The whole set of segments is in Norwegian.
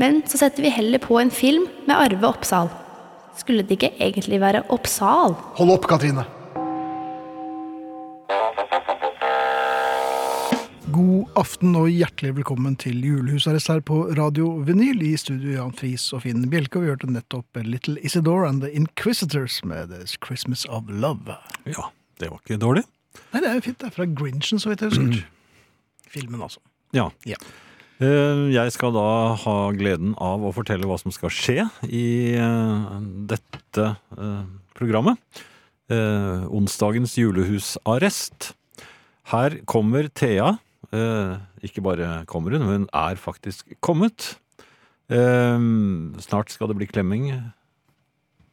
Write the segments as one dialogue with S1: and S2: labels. S1: men så setter vi heller på en film med Arve Oppsal. Skulle det ikke egentlig være Oppsal?
S2: Hold opp, Katrine. God aften og hjertelig velkommen til julehusarrest her på Radio Vinyl. I studio Jan Friis og Finn Bjelke, og vi hørte nettopp Little Isidore and The Inquisitors med This Christmas of Love.
S3: Ja, det var ikke dårlig.
S2: Nei, det er jo fint. Det er fra Grinchen, så vidt jeg husker. Filmen, altså.
S3: Mm. Ja.
S2: Ja.
S3: Eh, Jeg skal da ha gleden av å fortelle hva som skal skje i eh, dette eh, programmet. Eh, Onsdagens julehusarrest. Her kommer Thea. Eh, Ikke bare kommer hun, hun er faktisk kommet. Eh, Snart skal det bli klemming.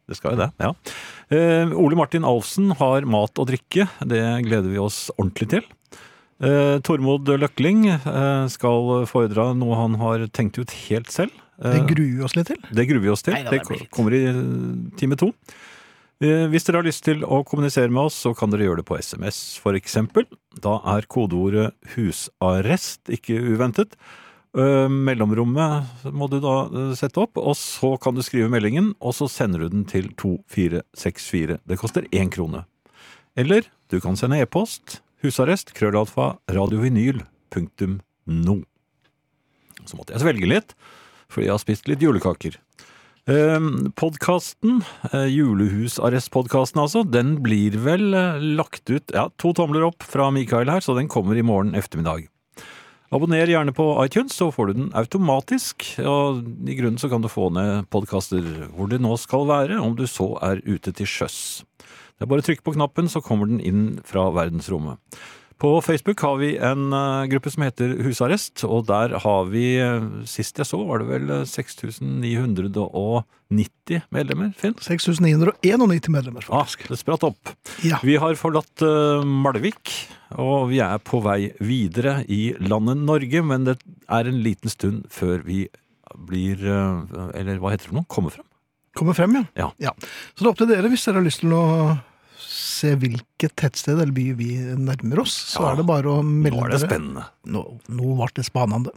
S3: Det skal jo det, ja. Eh, Ole Martin Alfsen har mat og drikke. Det gleder vi oss ordentlig til. Eh, Tormod Løkling eh, skal foredra noe han har tenkt ut helt selv.
S2: Det
S3: Eh,
S2: gruer vi oss litt til.
S3: det gruer vi oss til.
S2: Neida,
S3: det
S2: det blir fint.
S3: kommer i eh, time to. Eh, Hvis dere har lyst til å kommunisere med oss, så kan dere gjøre det på SMS for eksempel. Da er kodeordet husarrest, ikke uventet. Eh, Mellomrommet må du da eh, sette opp, og så kan du skrive meldingen, og så sender du den til 2464. Det koster én krone. Eller du kan sende e-post husarrest krøllalfa radiovinyl.no. Så måtte jeg svelge litt, for jeg har spist litt julekaker. Ehm, Podkasten, Julehusarrestpodkasten eh, altså, den blir vel eh, lagt ut Ja, to tomler opp fra Mikael her, så den kommer i morgen ettermiddag. Abonner gjerne på iTunes, så får du den automatisk. Og i grunnen så kan du få ned podkaster hvor det nå skal være, om du så er ute til sjøs. Det er bare å trykke på knappen, så kommer den inn fra verdensrommet. På Facebook har vi en eh, gruppe som heter Husarrest, og der har vi, eh, sist jeg så, var det vel eh, 6990 medlemmer, Finn?
S2: 6991 medlemmer,
S3: Ah,
S2: faktisk.
S3: det spratt opp.
S2: Ja.
S3: Vi har forlatt eh, Malvik, og vi er på vei videre i landet Norge, men det er en liten stund før vi blir eh, Eller hva heter det for noe? Kommer frem?
S2: Kommer frem, ja.
S3: Ja.
S2: Så det er opp til dere hvis dere har lyst til å se hvilket tettsted eller by vi nærmer oss. Så
S3: Ja.
S2: er det bare å
S3: Nå
S2: melde
S3: er det
S2: dere.
S3: spennende.
S2: Nå, nå ble det spanende.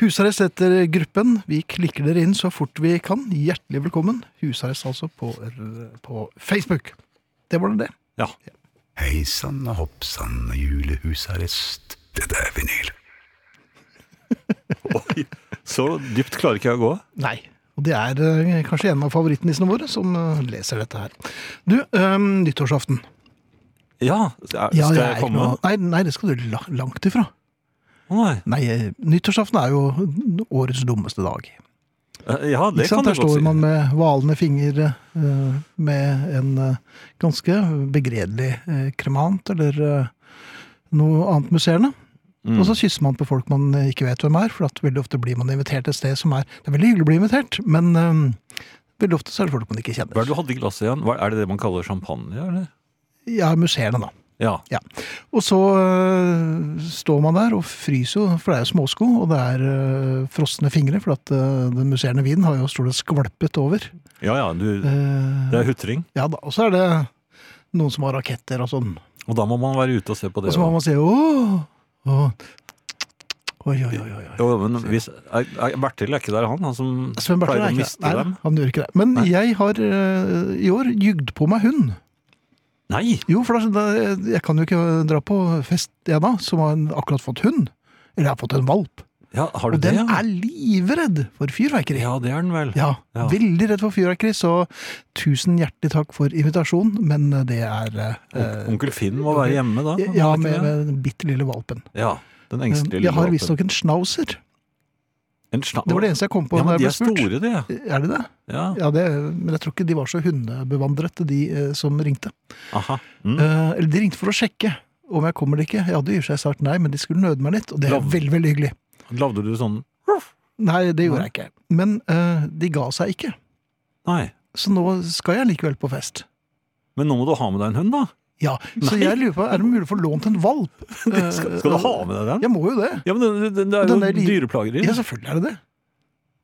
S2: Husarrest etter gruppen. Vi klikker dere inn så fort vi kan. Hjertelig velkommen. Husarrest altså på, på Facebook. Det var det. det.
S3: Ja.
S4: Hei sann og hopp sann, julehusarrest. Dette er vinyl.
S3: Oi, så dypt klarer ikke jeg å gå.
S2: Nei. Og det er eh, kanskje en av favorittnissene våre som eh, leser dette her. Du, eh, nyttårsaften.
S3: Ja, skal
S2: Ja, det er
S3: jeg
S2: ikke
S3: komme?
S2: noe- Nei, nei, det skal du la- langt ifra.
S3: Å, Nei.
S2: Nei, eh, nyttårsaften er jo årets dummeste dag.
S3: Eh, Ja, det
S2: Ikke sant?
S3: kan
S2: Der
S3: du godt
S2: står
S3: si.
S2: man med valende fingre eh, med en eh, ganske begredelig eh, kremant eller eh, noe annet musserende. Og
S3: Mm.
S2: så kysser man på folk man eh, ikke vet hvem er, for at veldig ofte blir man invitert et sted som er Det er veldig hyggelig å bli invitert, men eh, veldig ofte så er det folk man ikke
S3: Hva er det
S2: kjenner.
S3: du hadde i glasset igjen? Hva, er det det man kaller champagne, eller?
S2: Ja, musserende, da.
S3: Ja.
S2: Ja. Og så øh, står man der og fryser jo, for det er jo småsko, og det er øh, frosne fingre, for at øh, den musserende vinen har jo stort sett skvalpet over.
S3: ja, ja, du,
S2: Eh,
S3: det er hutring.
S2: ja da, og så er det noen som har raketter og sånn.
S3: Og da må man være ute og se
S2: Og
S3: på det.
S2: så må
S3: da.
S2: man si åh, åh, oi, oi, oi, oi. oi.
S3: Jo, men hvis, er, er, Bertil er ikke der, han? Han som
S2: Sven Bertil
S3: pleier
S2: er
S3: å
S2: ikke
S3: miste
S2: det. Nei,
S3: dem?
S2: han gjør ikke det. Men
S3: Nei.
S2: jeg har øh, i år jugd på meg hund.
S3: Nei!
S2: Jo, for da, eh, jeg kan jo ikke dra på fest, jeg da, som har akkurat fått hund. Eller jeg har fått en valp.
S3: Ja, har du
S2: Og den
S3: det? ja?
S2: er livredd for fyrverkeri.
S3: Ja, det er den vel.
S2: Ja,
S3: Ja.
S2: veldig redd for fyrverkeri, så tusen hjertelig takk for invitasjonen, men det er
S3: Onk-
S2: eh,
S3: Onkel Finn må være hjemme da?
S2: Ja,
S3: er det ikke
S2: med,
S3: det?
S2: med den bitte lille valpen.
S3: ja den engstelige
S2: Jeg har
S3: valpen.
S2: visstnok en schnauzer.
S3: En sna-
S2: Det var det eneste jeg kom på
S3: ja,
S2: da
S3: men
S2: jeg
S3: de
S2: ble
S3: er
S2: spurt.
S3: store, de.
S2: Er de det?
S3: Ja.
S2: Ja, det, men jeg tror ikke de var så hundebevandret, de eh, som ringte.
S3: Aha. Mm.
S2: Eh, eller de ringte for å sjekke om jeg kommer eller ikke. Jeg hadde i og for seg sagt nei, men de skulle nøde meg litt, og det er
S3: Lav-
S2: veldig, veldig hyggelig.
S3: Lagde du sånn
S2: Nei, det gjorde jeg ikke. Men eh, de ga seg ikke.
S3: Nei.
S2: Så nå skal jeg likevel på fest.
S3: Men nå må du ha med deg en hund, da.
S2: Ja, Så jeg lurer på, er det mulig å få lånt en valp?
S3: Skal, skal du ha med deg den?
S2: Jeg må jo det.
S3: Ja, men den, den, det er
S2: Eh, Den
S3: jo
S2: er li-
S3: dyreplageri.
S2: Ja, selvfølgelig er det det.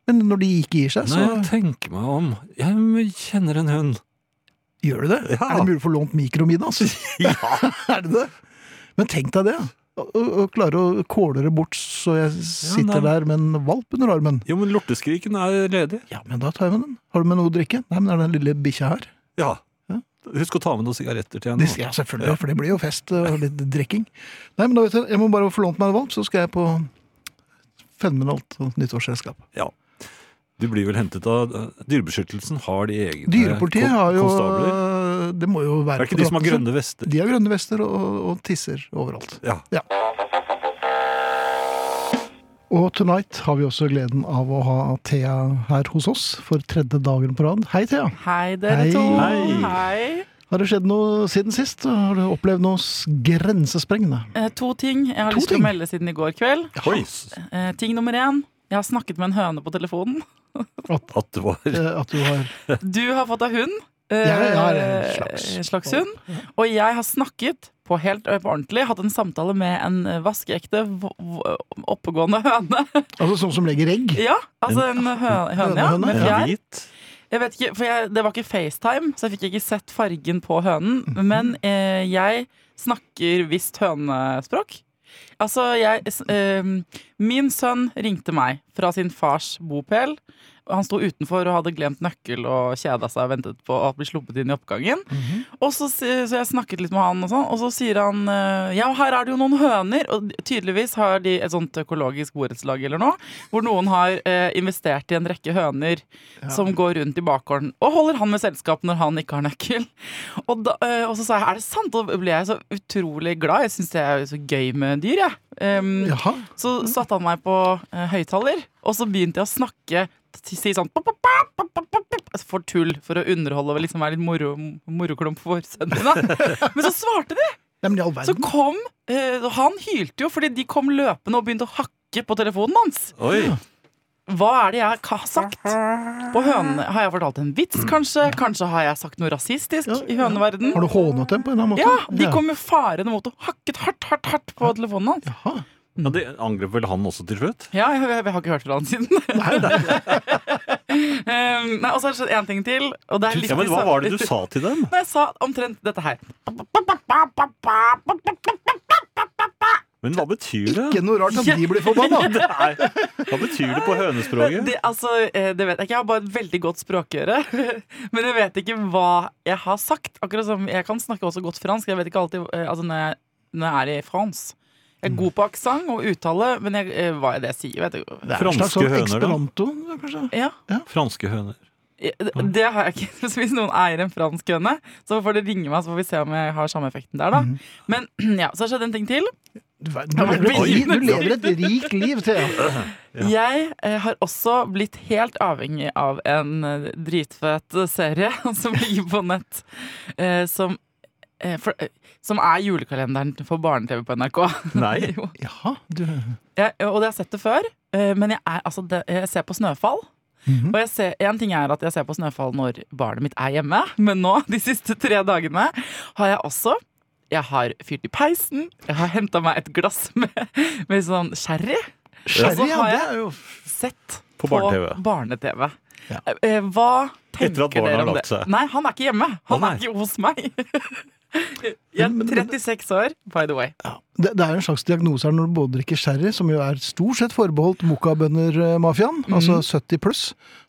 S2: Men når de ikke gir seg, så
S3: Nei, jeg tenker meg om. Jeg kjenner en hund.
S2: gjør de det.
S3: Ja.
S2: Er det mulig å få lånt altså? mikromidas?
S3: Ja.
S2: er det det? Men tenk deg det. Å å- å klare å kåle det bort så jeg sitter
S3: nei.
S2: der med en valp under armen.
S3: Jo, men lorteskriken er ledig.
S2: Ja, men da tar jeg med den. Har du med noe å drikke? Nei, men er det den lille bikkja her?
S3: Ja.
S2: Ja.
S3: Husk å ta med noen sigaretter til
S2: Det,
S3: henne.
S2: ja, selvfølgelig, for det blir jo fest og litt drikking. Nei, men da vet jeg, jeg må bare få lånt meg en valp, så skal jeg på fenomenalt nyttårsselskap.
S3: Ja. Du blir vel hentet av eh, Dyrebeskyttelsen har de egne
S2: Dyrepolitiet
S3: kon-
S2: har jo
S3: konstabler.
S2: Det må jo
S3: Er
S2: være
S3: det ikke de som har
S2: Drottingsen.
S3: grønne vester?
S2: De har grønne vester og, og tisser overalt.
S3: Ja.
S2: Ja. Og tonight har vi også gleden av å ha Thea her hos oss for tredje dagen på rad. Hei, Thea.
S5: Hei, dere
S2: Hei.
S5: to.
S3: Hei.
S5: Hei.
S2: Har det skjedd noe siden sist? Har du opplevd noe s- grensesprengende?
S5: Eh, to ting jeg har
S2: To
S5: lyst til
S2: ting?
S5: å melde siden i går kveld.
S3: Oi!
S5: Eh, ting nummer én. Jeg har snakket med en høne på telefonen.
S3: At det var
S2: Eh, At du har
S5: Du har fått deg hund. eh,
S2: Jeg har en slags.
S5: en slags hund. Og jeg har snakket på helt ø, på ordentlig. Hatt en samtale med en eh, vaskeekte, vo- vo- oppegående høne.
S2: Altså sånn som legger egg?
S5: Ja, altså en hø høne, ja.
S2: hønehøne,
S5: Med
S2: ja.
S5: fjær.
S3: hvit.
S5: Jeg vet ikke, for jeg, Det var ikke FaceTime, så jeg fikk ikke sett fargen på hønen.
S2: Mhm.
S5: Men eh, jeg snakker visst hønespråk. Altså, jeg s- eh, Min sønn ringte meg fra sin fars bopel. Og Han sto utenfor og hadde glemt nøkkel og kjeda seg og ventet på å bli sluppet inn i oppgangen. Og så, si- så jeg snakket litt med han, og sånn Og så sier han eh, Ja, her er det jo noen høner. Og tydeligvis har de et sånt økologisk borettslag eller noe, hvor noen har eh, investert i en rekke høner som går rundt i bakgården og holder han med selskap når han ikke har nøkkel. Og, da, eh, og så sa jeg er det sant? Og da ble jeg så utrolig glad. Jeg syns det er så gøy med dyr, jeg. Em,
S2: Jaha.
S5: så
S2: Mm.
S5: satte han meg på eh, høyttaler, og så begynte jeg å snakke. t- Si sånn pop, pop, pop, pop, pop, pop, pop, altså For tull, for å underholde og liksom være litt moro, moroklump for sønnen min. da. Men så svarte de!
S2: Nei, men i all
S5: Så
S2: verden.
S5: kom eh, og Han hylte jo fordi de kom løpende og begynte å hakke på telefonen hans.
S3: Oi!
S5: Hva er det jeg har sagt? På hønene Har jeg fortalt en vits, kanskje? Kanskje har jeg sagt noe rasistisk
S2: Ja,
S5: i høneverden?
S2: Har du hånet dem på en eller annen måte?
S5: Ja, De kom jo farende mot og hakket hardt, hardt, hardt på telefonen hans.
S2: Jaha.
S3: Ja, det angrep vel han også til slutt?
S5: Ja, jeg, jeg, jeg har ikke hørt fra han siden. um, nei, og så er det en ting til. Og det er litt
S3: Ja, men Hva var det du sa til dem?
S5: Nei, jeg sa omtrent dette her.
S3: Men hva betyr det?
S2: Ikke noe rart at de blir forbanna.
S3: Det er- Hva betyr det på hønespråket?
S5: Det, altså, eh, det vet jeg ikke. Jeg har bare et veldig godt språkøre. Men jeg vet ikke hva jeg har sagt. Akkurat som Jeg kan snakke også godt fransk. Jeg vet ikke alltid eh, Altså når jeg, når jeg er i France. Jeg er
S3: Mm.
S5: god på aksent og uttale, men jeg, eh, hva er det jeg sier? Vet jeg.
S2: Det er en slags
S3: Franske
S2: sånn
S3: høner, da?
S2: Esperanto, kanskje?
S5: Ja.
S3: Franske høner.
S5: Ja, Det det har jeg ikke. Så hvis noen eier en fransk høne, så får det ringe meg, så får vi se om jeg har samme effekten der, da. Men ja, så har det skjedd en ting til.
S2: Du, verden, du, lever, et,
S5: Oi.
S2: li- du lever et rikt liv, Thea.
S5: Jeg eh, har også blitt helt avhengig av en eh, dritfet serie som ligger på nett, eh, som eh, for, eh, som er julekalenderen for barne-TV på NRK.
S3: Nei.
S5: Jo.
S2: Jaha, du
S5: Jeg, og jeg har sett det før, eh, men jeg, er, altså, det, jeg ser på Snøfall.
S3: Mhm.
S5: Og jeg ser, en ting er at jeg ser på Snøfall når barnet mitt er hjemme, men nå, de siste tre dagene, har jeg også Jeg har fyrt i peisen, jeg har henta meg et glass med, med sånn sherry.
S2: Sherry, ja.
S5: har
S2: Det
S5: jeg-
S2: er jo
S5: Sett
S3: På barne-TV.
S5: barne-TV.
S2: Ja.
S5: Eh, Hva
S3: Etter at barna
S5: tenker dere
S3: har
S5: om
S3: lagt
S5: det?
S3: seg.
S5: Nei, han er ikke hjemme. Han
S3: Å,
S5: er
S3: nei.
S5: ikke hos meg. Jeg er 36 år, by the way.
S2: Det, det er en slags diagnose her når du både drikker sherry, som jo er stort sett forbeholdt mokabønder-mafiaen,
S5: Mhm.
S2: altså 70 pluss,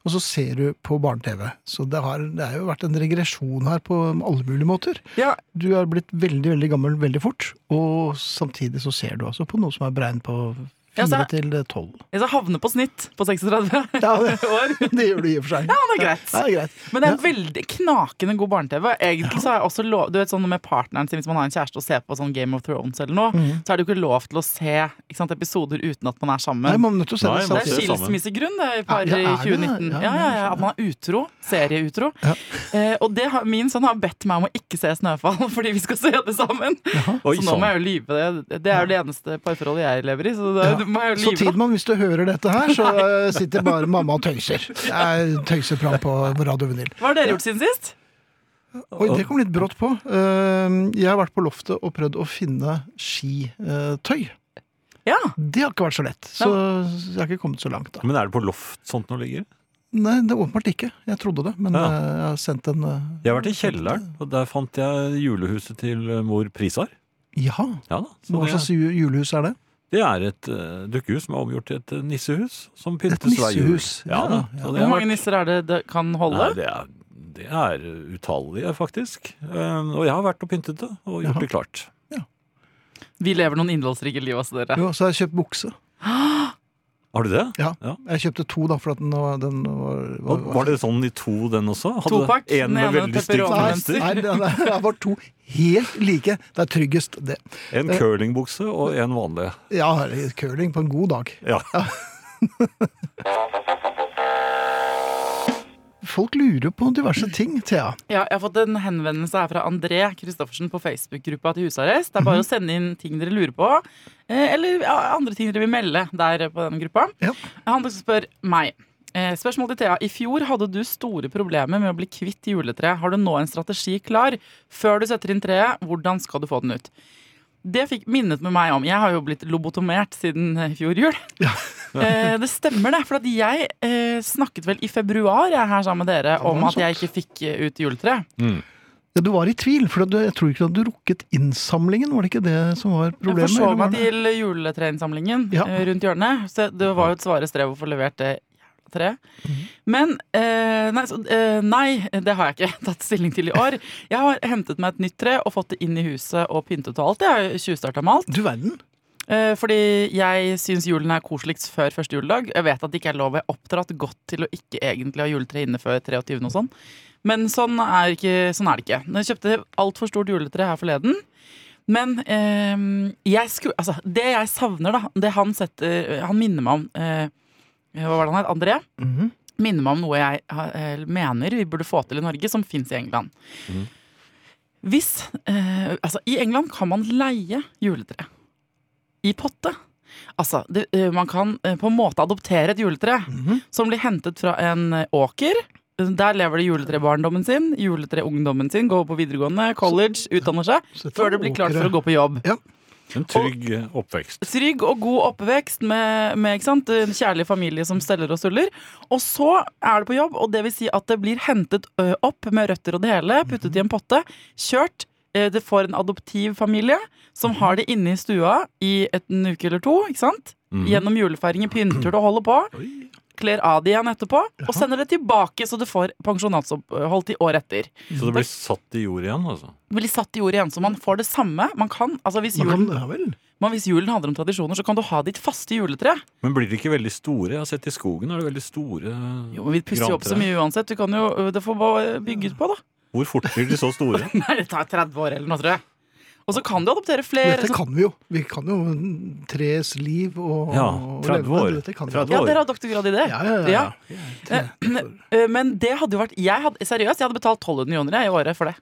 S2: og så ser du på barne-TV. Så det har, det har jo vært en regresjon her på alle mulige måter.
S5: Ja,
S2: Du er blitt veldig, veldig gammel veldig fort, og samtidig så ser du altså på noe som er beregnet på
S5: Ja,
S2: 4
S5: så-
S2: til 12.
S5: jeg skal havne på snitt på 36
S2: Ja, det,
S5: år.
S2: det gjør du i og for seg.
S5: Ja, det er greit.
S2: Ja, det er greit.
S5: Men det er veldig knakende god barne-TV. Egentlig så har jeg også lov, du vet sånn med partneren sin Hvis man har en kjæreste og ser på sånn Game of Thrones eller noe,
S2: Mhm.
S5: så er det jo ikke lov til å se ikke sant, episoder uten at man er sammen.
S2: Nei, man er nødt til å se
S3: Nei,
S2: det
S5: det
S3: man
S5: er
S3: ser
S2: samtidig.
S3: det sammen.
S5: skilsmissegrunn det, i par
S2: Ja,
S5: i
S2: er det det?
S5: 2019.
S2: Ja,
S5: Ja, ja, ja,
S2: ja.
S5: At man er utro. Serieutro.
S2: Ja.
S5: Eh, og det har, min sønn har bedt meg om å ikke se 'Snøfall', fordi vi skal se det sammen.
S3: Oi,
S5: så nå må
S3: sånn.
S5: jeg jo lyve. Det, det er jo det eneste parforholdet jeg lever i, så det er jo Du må jo
S2: Så
S5: lyve.
S2: Tidmann, hvis du hører dette her, så eh, sitter bare mamma og tøyser. Det er tøysepram på Radio Vinyl.
S5: Hva har dere gjort siden sist?
S2: Oi, det kom litt brått på. Eh, Jeg har vært på loftet og prøvd å finne skitøy.
S5: Ja.
S2: Det har ikke vært så lett, så jeg har ikke kommet så langt da.
S3: Men er det på loft sånt noe ligger?
S2: Nei, det er åpenbart ikke. Jeg trodde det, men
S3: Ja.
S2: eh, jeg har sendt en eh,
S3: Jeg har vært i kjelleren, og der fant jeg julehuset til eh, mor Prisar.
S2: Ja,
S3: Ja da. Så
S2: hva
S3: det,
S2: slags ju- julehus er det?
S3: det er et uh, dukkehus som er omgjort til et eh, nissehus. Som
S2: Et
S3: pyntes hver jul.
S2: nissehus.
S3: Ja, da. Så det
S5: Hvor
S3: har
S5: mange nisser er det det kan holde?
S3: Nei, det er, det er utallige, faktisk. Um, og jeg har vært og pyntet det, og gjort
S2: Jaha.
S3: det klart.
S5: Vi lever noen innholdsrike liv, altså, dere.
S2: Jo, så har jeg kjøpt bukse.
S3: Har du det?
S2: Ja.
S3: Ja.
S2: Jeg kjøpte to, da, for at den var, den var,
S3: Og var det sånn i to, den også? Hadde
S5: Topakk,
S3: en
S5: den
S3: med
S5: ene
S3: veldig stygg
S5: pepperoni.
S3: mønster,
S2: Nei, det, det, det var to helt like. Det er tryggest, det.
S3: en curlingbukse og en vanlig.
S2: Ja, curling på en god dag.
S3: Ja.
S2: Folk lurer på diverse ting, Thea.
S5: Ja, jeg har fått en henvendelse her fra André Kristoffersen på Facebook-gruppa til husarrest. Det er bare å sende inn ting dere lurer på, eh, eller ja, andre ting dere vil melde der eh, på den gruppa.
S2: Ja.
S5: Han også spør meg. Eh, Spørsmål til Thea. I fjor hadde du store problemer med å bli kvitt juletreet. Har du nå en strategi klar? Før du setter inn treet, hvordan skal du få den ut? Det fikk minnet med meg om Jeg har jo blitt lobotomert siden eh, i fjor jul. Eh, det stemmer, det. For at jeg eh, snakket vel i februar jeg er her sammen med dere om
S2: noe
S5: at jeg ikke fikk eh, ut juletreet.
S2: Ja, du var i tvil, for du, jeg tror ikke du hadde rukket innsamlingen. Var det ikke det som var problemet?
S5: Jeg forså
S2: eller var
S5: meg
S2: det-
S5: til juletreinnsamlingen
S2: Ja.
S5: eh, rundt hjørnet. Så det var jo et svare strev å få levert det jævla treet. Men eh, nei, så, eh, nei, det har jeg ikke tatt stilling til i år. Jeg har hentet meg et nytt tre og fått det inn i huset og pyntet og alt. Jeg har tjuvstarta med alt.
S2: Du verden.
S5: Eh, fordi jeg syns julen er koseligst før første juledag. Jeg vet at det ikke er lov, jeg er oppdratt godt til å ikke egentlig ha juletre inne før 23. og sånn. Men sånn er, ikke, sånn er det ikke. Jeg kjøpte altfor stort juletre her forleden. Men eh, jeg skulle, altså, det jeg savner, da, det han, setter, han minner meg om eh, Hva var det han het? André?
S2: Mhm.
S5: Minner meg om noe jeg eh, mener vi burde få til i Norge, som fins i England.
S2: Mhm.
S5: Hvis eh, Altså, i England kan man leie juletre. I potte. Altså, det, eh, man kan eh, på en måte adoptere et juletre
S2: Mhm.
S5: som blir hentet fra en eh, åker. Der lever det juletrebarndommen sin, juletreungdommen sin, går på videregående, college, utdanner seg.
S2: Så dette
S5: Før det
S2: er
S5: blir klart
S2: åkere.
S5: for å gå på jobb.
S3: En trygg eh, oppvekst.
S5: Trygg og god oppvekst med, med ikke sant? en kjærlig familie som steller og stuller. Og så er det på jobb, og det vil si at det blir hentet ø, opp med røtter og det hele, puttet i en potte, kjørt. ø, Det får en adoptiv familie som har det inne i stua i et- en uke eller to. ikke sant?
S2: Mhm.
S5: Gjennom julefeiringen, pynter det og holder på.
S3: Oi.
S5: Kler av det igjen etterpå, og sender det tilbake så det får pensjonatsopphold i året etter.
S3: Så det blir satt i jord igjen, altså.
S5: Blir satt i jordet igjen, så man får det samme. Man kan, altså hvis
S2: Man
S5: julen
S2: kan, ja vel.
S5: men hvis julen handler om tradisjoner, så kan du ha ditt faste juletre.
S3: Men blir de ikke veldig store? Jeg har sett i skogen er det veldig store
S5: Jo, men Vi pusser jo opp så
S3: grantre.
S5: mye uansett. Du kan jo, øh, Det får bare bygges på, da.
S3: Hvor fort blir de så store?
S5: Nei, det tar 30 år eller noe, tror jeg. Og så kan du adoptere flere.
S2: Dette
S5: Så-
S2: kan vi jo. Vi kan jo tres liv og
S3: Ja,
S2: og
S3: 30
S2: leve.
S3: år.
S2: Dette kan vi.
S3: 30
S5: Ja, dere har doktorgrad i det.
S2: Ja, ja, ja.
S5: Ja.
S2: ja.
S5: Eh, Men det hadde jo vært jeg hadde, Seriøst, jeg hadde betalt 1200 joner jeg, i året for det.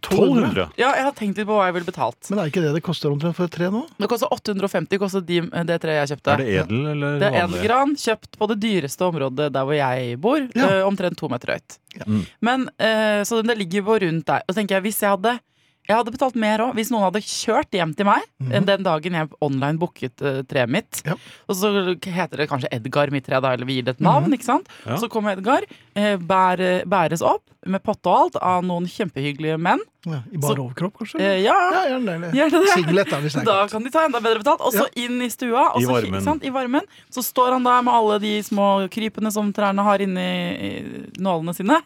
S2: 1200.
S3: 1200?
S5: Ja, Jeg har tenkt litt på hva jeg ville betalt.
S2: Men er ikke det det koster omtrent for et tre nå?
S5: Det koster 850 kostet de, øh, det treet jeg kjøpte.
S3: Er det edel eller
S5: Det er
S3: vanlig?
S5: edelgran kjøpt på det dyreste området der hvor jeg bor.
S2: Ja.
S5: eh, omtrent to meter høyt.
S2: Ja.
S3: Mm.
S5: Men, eh, så det ligger jo rundt der. Og så tenker jeg, hvis jeg hadde jeg hadde betalt mer òg. Hvis noen hadde kjørt hjem til meg eh, den dagen jeg online booket eh, treet mitt.
S2: Mhm. Ja.
S5: Og så heter det kanskje Edgar mitt tre, da, eller vi gir det et
S2: Mhm.
S5: navn. ikke sant?
S3: Ja.
S5: Så kommer Edgar, eh, bær, bæres opp med potte og alt av noen kjempehyggelige menn.
S2: Ja, I bar
S5: Så-
S2: overkropp, kanskje?
S5: Eh, ja,
S2: Mhm. Ja, gjerne det.
S5: Gjør det det?
S2: Singlet er vi snakket
S5: Da
S2: om.
S5: kan de ta enda bedre betalt. Og så inn i stua. Og
S3: I
S5: så,
S3: varmen.
S5: Ikke sant? I varmen. Så står han der med alle de små krypene som trærne har inni i nålene sine.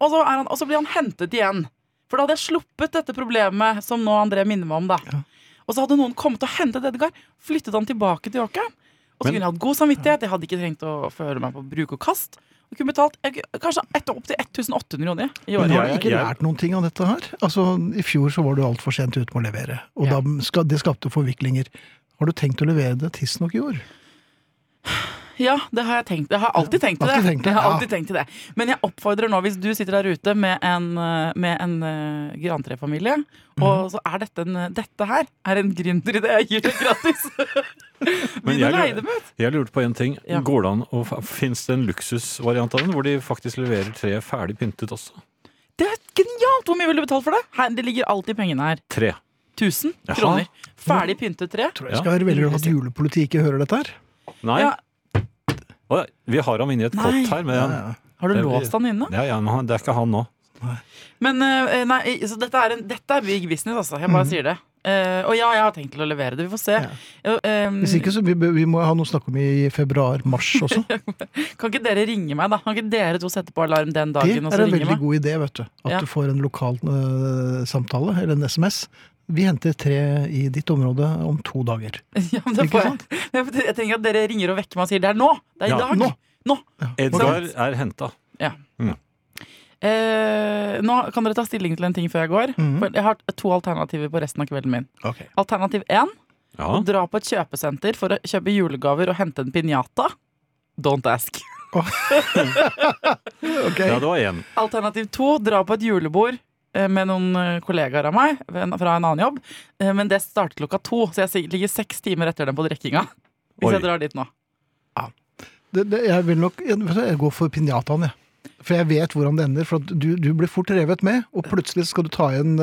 S5: Og, så er han, og så blir han hentet igjen. For da hadde jeg sluppet dette problemet som nå André minner meg om. da Og så hadde noen kommet og hentet Edgar, flyttet han tilbake til åkeren. Og så
S3: Men-
S5: kunne jeg hatt god samvittighet. Jeg hadde ikke trengt å føle meg på bruk og kast. Og kunne betalt jeg, kanskje etter opptil 1800 kroner i
S2: Men
S5: året.
S2: har du
S3: Jeg-
S2: ikke
S3: jeg-
S2: lært noen ting av dette her? Altså, I fjor så var du altfor sent ute med å levere, og
S5: Ja.
S2: da ska, det skapte forviklinger. Har du tenkt å levere det tidsnok i år?
S5: Ja, det har jeg tenkt. Jeg har alltid tenkt til
S2: Har
S5: det.
S2: ikke tenkt det,
S5: jeg har
S2: ja.
S5: alltid tenkt til det. Men jeg oppfordrer nå, hvis du sitter der ute med en, eh, med en eh, grantrefamilie,
S2: Mhm.
S5: og så er dette en eh, Dette her er en gründeridé jeg gir deg gratis! Begynn å
S3: jeg
S5: leie
S3: lurer-
S5: dem ut!
S3: Jeg lurte på en ting.
S5: Ja.
S3: Går det an å, Fins det en luksusvariant av den, hvor de faktisk leverer tre ferdig pyntet også?
S5: Det er genialt! Hvor mye vil du betale for det? Her, det ligger alltid pengene her.
S3: Tre.
S5: 1000
S3: Jaha.
S5: kroner. Ferdig pyntet tre.
S2: Tror jeg skal være veldig glad for at julepolitiet ikke hører dette her.
S3: Nei,
S5: Ja,
S3: Å, vi har ham inni et
S5: Nei.
S3: kott her, men
S2: Ja, ja.
S5: har du
S3: Det blir-
S5: låst han inne?
S3: ja, ja, men han, det er ikke han nå.
S5: Men eh, nei, så dette er, en, dette er big business, altså. Jeg bare
S2: Mhm.
S5: sier det. Eh, og ja, jeg har tenkt til å levere det. Vi får se. Eh, ehm,
S2: Hvis ikke, så vi, vi må ha noe å snakke om i februar-mars også.
S5: Kan ikke dere ringe meg, da? Kan ikke dere to sette på alarm den
S2: Det
S5: dagen, og
S2: er
S5: så
S2: en
S5: ringe
S2: veldig
S5: meg?
S2: god idé, vet du. At
S5: Ja.
S2: du får en lokal øh, samtale, eller en SMS. Vi henter tre i ditt område om to dager.
S5: Ja, men det
S2: Ikke
S5: får jeg. Jeg jeg trenger at dere ringer og vekker meg og sier det er nå! Det er i
S3: Ja,
S5: dag!
S2: nå. Ja.
S3: Edgar er henta.
S5: Eh, nå kan dere ta stilling til en ting før jeg går.
S2: Mhm.
S5: For jeg har to alternativer på resten av kvelden min.
S2: Ok.
S5: Alternativ én
S3: Ja.
S5: å dra på et kjøpesenter for å kjøpe julegaver og hente en piñata. Don't ask.
S3: ja, det var én.
S5: Alternativ to dra på et julebord eh, med noen eh, kollegaer av meg ved en- fra en annen jobb. Eh, Men det starter klokka to, så jeg sig- ligger seks timer etter dem på drikkinga. Hvis
S3: Oi.
S5: jeg drar dit nå.
S2: Det, det, jeg vil nok jeg, vet du, jeg går for pinjataen, jeg. For jeg vet hvordan det ender. For at du, du blir fort revet med, og plutselig skal du ta igjen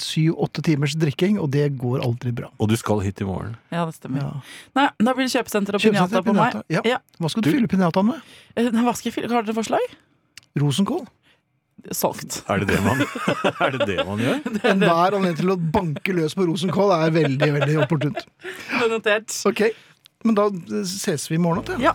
S2: syv-åtte timers drikking, og det går aldri bra.
S3: Og du skal hit i morgen.
S5: Ja, det stemmer.
S2: Ja.
S5: Nei, da blir det kjøpesenter og pinjata
S2: Kjøpesenter,
S5: på meg.
S2: pinjata. Ja.
S5: Ja.
S2: Hva skal du,
S3: Du-
S2: fylle pinjataen med?
S5: Eh, nei, Hva skal jeg fylle? Har dere forslag?
S2: Rosenkål?
S5: Solgt.
S3: Er det det man, er det det man gjør?
S2: Enhver anledning til å banke løs på rosenkål er veldig, veldig opportunt.
S5: Det er Notert.
S2: Ok, men da ses vi i morgen igjen.
S5: Ja.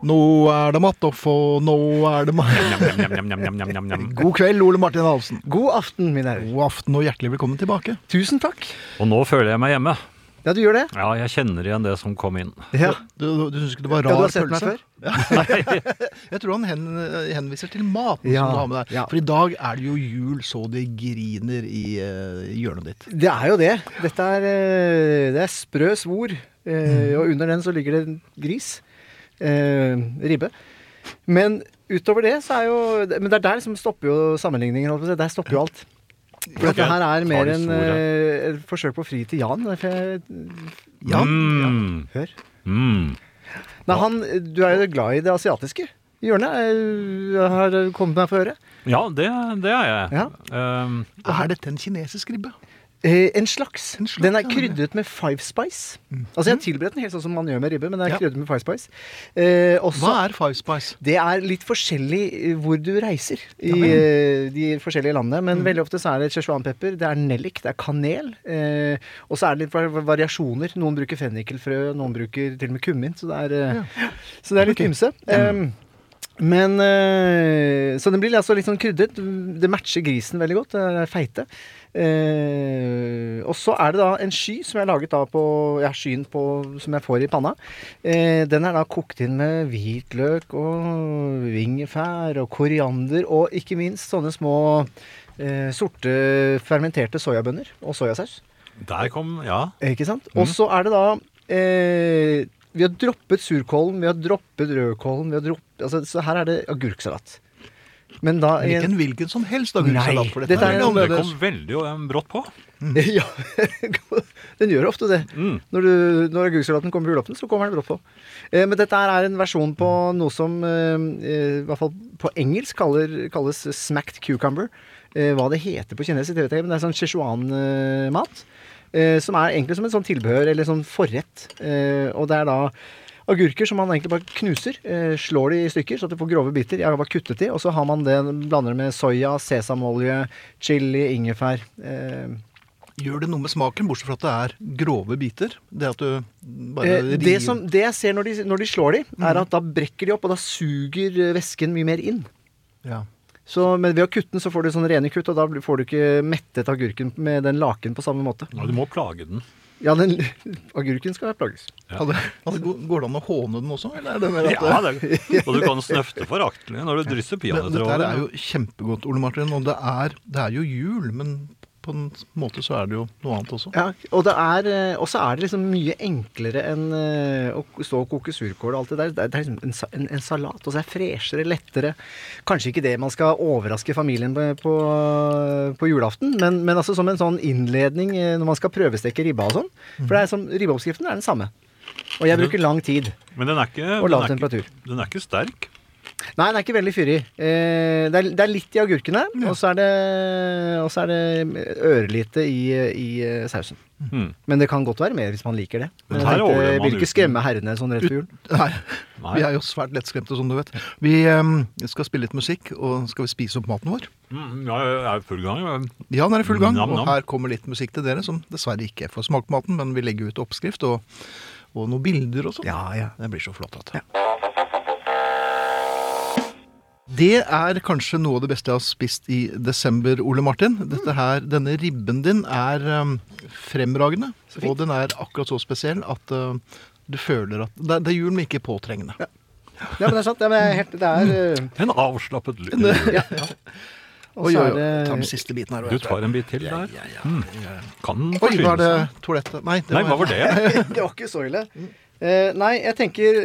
S2: Nå er det Mattoff, og nå er det Mattoff.
S3: Njam, njam, njam, njam, njam, njam, njam.
S2: God kveld, Ole Martin Halvsen.
S6: God aften, mine herrer.
S2: God aften og hjertelig velkommen tilbake.
S6: Tusen takk.
S3: Og nå føler jeg meg hjemme.
S6: Ja, du gjør det?
S3: Ja, jeg kjenner igjen det som kom inn.
S6: Ja.
S2: Du, du, du syns ikke det var
S6: Ja,
S2: rar
S6: du har sett meg
S2: pølse?
S6: før?
S2: Jeg tror han hen, eh, henviser til maten
S6: Ja,
S2: som du har med deg.
S6: ja.
S2: For i dag er det jo jul så det griner i eh, hjørnet ditt.
S6: Det er jo det. Dette er, eh, det er sprø svor. Eh, Og under den så ligger det en gris. Eh, ribbe. Men utover det så er jo Men det er der liksom stopper jo sammenligningen. holdt på å si. Der stopper jo alt.
S3: Ok,
S6: For dette her er mer
S3: tar det
S6: enn
S3: svoret.
S6: eh, et forsøk på å fri til Jan. Derfor jeg
S3: Mm,
S6: Hør.
S3: mm.
S6: Nei, han, du er jo glad i det asiatiske hjørnet. eh, Har kommet meg for øre.
S3: Ja, det, det er jeg.
S6: Ja.
S3: Ehm,
S2: Er dette en kinesisk ribbe?
S6: Eh, en, slags.
S2: En slags,
S6: Den er
S2: ja,
S6: krydret med five spice. Altså Jeg har tilberedt den helt sånn som man gjør med ribbe, men den
S2: Mm.
S6: er
S2: Ja.
S6: krydret med five spice. Eh, også,
S2: Hva er five spice?
S6: Det er litt forskjellig eh, hvor du reiser i
S2: Ja Mm. vel.
S6: eh, de forskjellige landene. Men veldig ofte så er det szechuanpepper, det er nellik, det er kanel. Eh, og så er det litt var- variasjoner. Noen bruker fennikelfrø, noen bruker til og med kummin. Så det er, eh, så det er litt
S2: Ok. Mm.
S6: ymse. Eh, men eh, Så den blir altså litt sånn krydret. Det matcher grisen veldig godt. Den er feite. Eh, og så er det da en sky som jeg har laget da på Ja, skyen på, som jeg får i panna. Eh, den er da kokt inn med hvitløk og ingefær og koriander og ikke minst sånne små eh, sorte fermenterte soyabønner og soyasaus.
S3: der kom Ja.
S6: Ikke sant? Og så er det da eh, Vi har droppet surkålen, vi har droppet rødkålen vi har droppet, altså, Så her er det agurksalat. Men da i
S2: Ikke en hvilken som helst agurksalat. for
S6: Nei, dette er
S2: veldig
S6: en-
S3: Det
S2: annerledes.
S3: kom veldig eh, brått på.
S6: Ja, den gjør ofte det.
S3: Mm.
S6: Når, du, når agurksalaten kommer på julaften, så kommer den brått på. Eh, men dette her er en versjon på noe som eh, eh, i hvert fall på engelsk kaller, kalles smacked cucumber. Eh, hva det heter på kinesisk, det vet jeg ikke, men det er sånn Sichuan-mat. Eh, som er egentlig som en sånn tilbehør, eller sånn forrett. Eh, og det er da agurker som man egentlig bare knuser. Eh, slår de i stykker, så at du får grove biter. Jeg har bare kuttet de, og så har man det, blander det med soya, sesamolje, chili, ingefær. Eh,
S2: Gjør det noe med smaken, bortsett fra at det er grove biter? Det at du bare
S6: Eh, det,
S2: river-
S6: som, det jeg ser når de, når de slår de, er at da brekker de opp, og da suger eh, væsken mye mer inn.
S2: ja.
S6: Så, men ved å kutte den, så får du sånne rene kutt, og da blir- får du ikke mettet agurken med den laken på samme måte.
S3: Ja, Du må plage den.
S6: Ja, den, agurken skal plages.
S2: Hadde, hadde, gå- går det an å håne den også? Eller er det mer at
S3: Ja, det, og du kan snøfte foraktelig når du drysser
S2: Men
S3: peanøtter
S2: Dette
S3: over
S2: her
S3: den.
S2: er jo kjempegodt, Ole Martin. Og det er, det er jo jul, men på en måte så er det jo noe annet også.
S6: Ja, og det er, eh, og så er det liksom mye enklere enn eh, å stå og koke surkål og alt det der. Det er, det er liksom en, sa- en, en salat, og så er det freshere, lettere. Kanskje ikke det man skal overraske familien på, på, på julaften, men, men altså som en sånn innledning eh, når man skal prøvesteke ribba og sånn. For det er som, ribbeoppskriften er den samme. Og jeg bruker lang tid.
S3: Men den er ikke,
S6: Og lav
S3: den er
S6: temperatur.
S3: ikke, den er ikke sterk.
S6: Nei, den er ikke veldig fyrig. Eh, det, er, det er litt i agurkene, og så er det, og så er det ørlite i, i eh, sausen.
S3: Mm.
S6: Men det kan godt være mer hvis man liker det. Men
S3: Men
S6: jeg
S3: her
S6: tenkte,
S3: overlever man
S6: vil ikke
S3: uten.
S6: skremme herrene sånn rett før jul.
S2: Nei,
S3: Nei.
S2: Vi er jo svært lettskremte, som du vet. Vi em, skal spille litt musikk, og skal vi spise opp maten vår?
S3: Mm, ja, jeg er i full gang. ja.
S2: Ja, den er i full gang,
S3: Nam,
S2: og
S3: nam.
S2: her kommer litt musikk til dere, som dessverre ikke får smake på maten, men vi legger ut oppskrift og, og noen bilder og sånn.
S6: Ja, ja.
S2: Det blir så flott. At. Det er kanskje noe av det beste jeg har spist i desember, Ole Martin. Dette her, denne ribben din er um, fremragende, og den er akkurat så spesiell at uh, du føler at Det, det er jul, men ikke påtrengende.
S6: ja, men det er sant. Ja, men jeg er helt, det er, eh,
S3: En avslappet lyd.
S6: og
S2: Oi,
S6: så
S2: oi, oi.
S6: er
S2: Ta den
S6: det
S2: siste biten her.
S3: Du tar en bit til der. Mm. Kan den
S2: Oi, var det
S3: forsyne seg?
S2: toalettet? Nei, det
S3: Nei, hva var det?
S6: Det var ikke så ille. Eh, nei, jeg tenker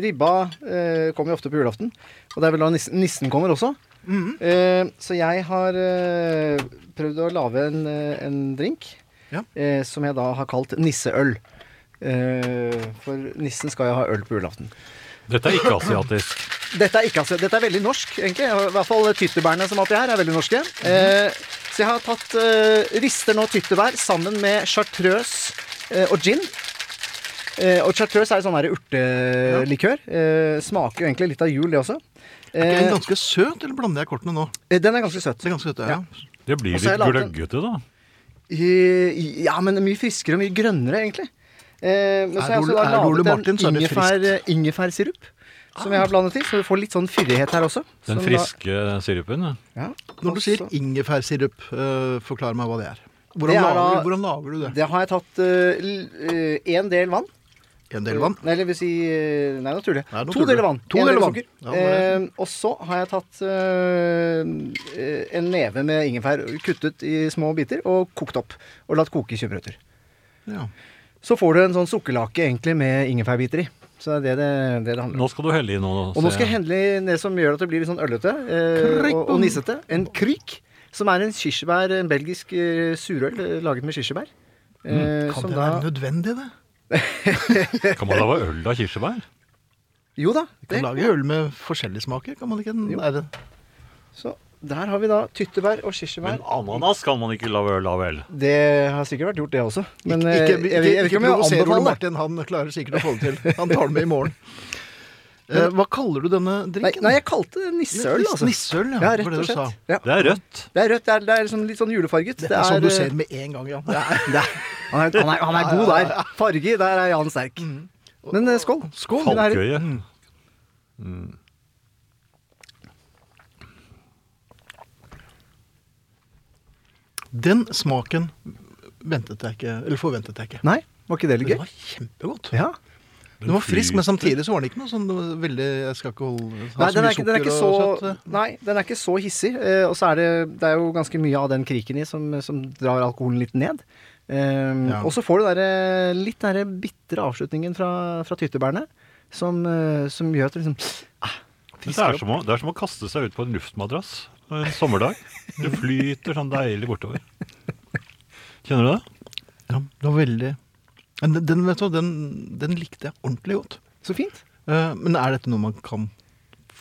S6: ribba eh, kommer jo ofte på julaften. Og det er vel da nissen, nissen kommer også. Eh, så jeg har eh, prøvd å lage en, eh, en drink
S2: Ja.
S6: eh, som jeg da har kalt nisseøl. Eh, for nissen skal jo ha øl på julaften.
S3: Dette er ikke asiatisk.
S6: Dette er, ikke, altså, dette er veldig norsk, egentlig. I hvert fall tyttebærene som er oppi her, er veldig norske. Eh, så jeg har tatt eh, rister nå tyttebær sammen med chartreuse eh, og gin. Eh, og chartreuse er jo sånn her urtelikør. Eh, smaker jo egentlig litt av jul, det også.
S2: Er
S6: Eh,
S2: den ganske søt, eller blander jeg kortene nå?
S6: eh, den er ganske søt.
S2: Det er ganske søt, ja.
S6: Ja.
S3: Det blir
S6: Og så har jeg
S3: litt
S6: laget en-
S3: gløggete, da.
S6: Eh, ja, men mye friskere og mye grønnere, egentlig. Eh, men
S2: Er
S6: så har jeg
S2: Ole-
S6: også da
S2: er Ole
S6: laget
S2: Martin, så er
S6: en
S2: det Ah.
S6: ingefær, eh, ingefærsirup. Som jeg har blandet i, så vi får litt sånn fyrighet her også.
S3: Den
S6: Som da-
S3: friske sirupen. ja.
S6: ja.
S2: Når du sier
S6: Også-
S2: ingefærsirup, eh, forklar meg hva det er. Hvordan,
S6: Det er
S2: lager,
S6: da-
S2: du- hvordan lager du det?
S6: Det har jeg tatt eh, én del vann.
S2: En del vann?
S6: Nei, eller vil si eh, Nei, naturlig.
S2: Nei, naturlig.
S6: To deler vann.
S2: To
S6: en
S2: deler
S6: del
S2: vann.
S6: sukker.
S2: Ja, det er
S6: Eh, og så har jeg tatt eh, eh, en neve med ingefær kuttet i små biter og kokt opp. Og latt koke i 20 minutter.
S2: Ja.
S6: Så får du en sånn sukkerlake egentlig med ingefærbiter i. Så det er det det, det, det handler om.
S3: Nå skal du helle i noe.
S6: Og nå
S3: ser
S6: skal
S3: jeg.
S6: jeg hente det som gjør at det blir litt sånn ølete eh,
S2: Kryk.
S6: og, og nissete. En kryk, som er en kirsebær, en belgisk eh, surøl eh, laget med kirsebær. Eh,
S2: Mm, Kan
S6: som
S2: det
S6: da-
S2: være nødvendig, det?
S3: Kan man lage øl av kirsebær?
S6: Jo da.
S2: Du kan lage øl med forskjellige smaker, kan man ikke? Er det?
S6: Så der har vi da tyttebær og kirsebær.
S3: Men ananas kan man ikke lage øl av, vel?
S6: det har sikkert vært gjort, det også. Men eh,
S2: ikke
S6: jeg, vet- jeg vet
S2: ikke
S6: ikke om jeg
S2: provoser Ole
S6: anbefaler det.
S2: Martin, han klarer sikkert å få det til. Han tar det med i morgen. Eh, hva kaller du denne
S6: Nei,
S2: drikken?
S6: nei, jeg kalte det nisseøl, altså.
S2: Nisseøl, ja.
S6: ja,
S2: det var det
S6: rett og
S2: du sa.
S6: slett. Ja.
S3: Det er rødt.
S6: Det er rødt, det er, det er liksom litt sånn julefarget.
S2: Det er sånn du
S6: eh,
S2: ser det med en gang, Jan.
S6: det er, det er, han, er, han, er, han er god der. Farge, der er Jan sterk.
S2: Mm.
S6: Men eh, skål. Skål, mine herrer.
S3: Falkøye.
S2: Den smaken ventet jeg ikke, eller forventet jeg ikke.
S6: Nei, var ikke det
S2: Men
S6: litt
S2: Det
S6: gøy?
S2: var kjempegodt.
S6: Ja.
S2: Den var frisk, men samtidig så var den ikke noe sånn det var veldig Jeg skal ikke holde ha
S6: Nei, den er,
S2: mye
S6: ikke, den,
S2: sukker
S6: er ikke
S2: og
S6: så,
S2: søtt.
S6: nei, den er ikke så hissig. eh, Og så er det, det er jo ganske mye av den kriken i som, som drar alkoholen litt ned. Ehm,
S2: Ja.
S6: Og så får du der, litt den der bitre avslutningen fra, fra tyttebærene som, eh, som gjør at det liksom ah,
S3: Det
S6: frisker
S3: er,
S6: opp.
S3: som å, det er som å kaste seg ut på en luftmadrass en sommerdag. Du flyter sånn deilig bortover. Kjenner du det?
S2: Ja, det var veldig Men den- den, vet du, hva, den, den likte jeg ordentlig godt.
S6: Så fint.
S2: Eh, men er dette noe man kan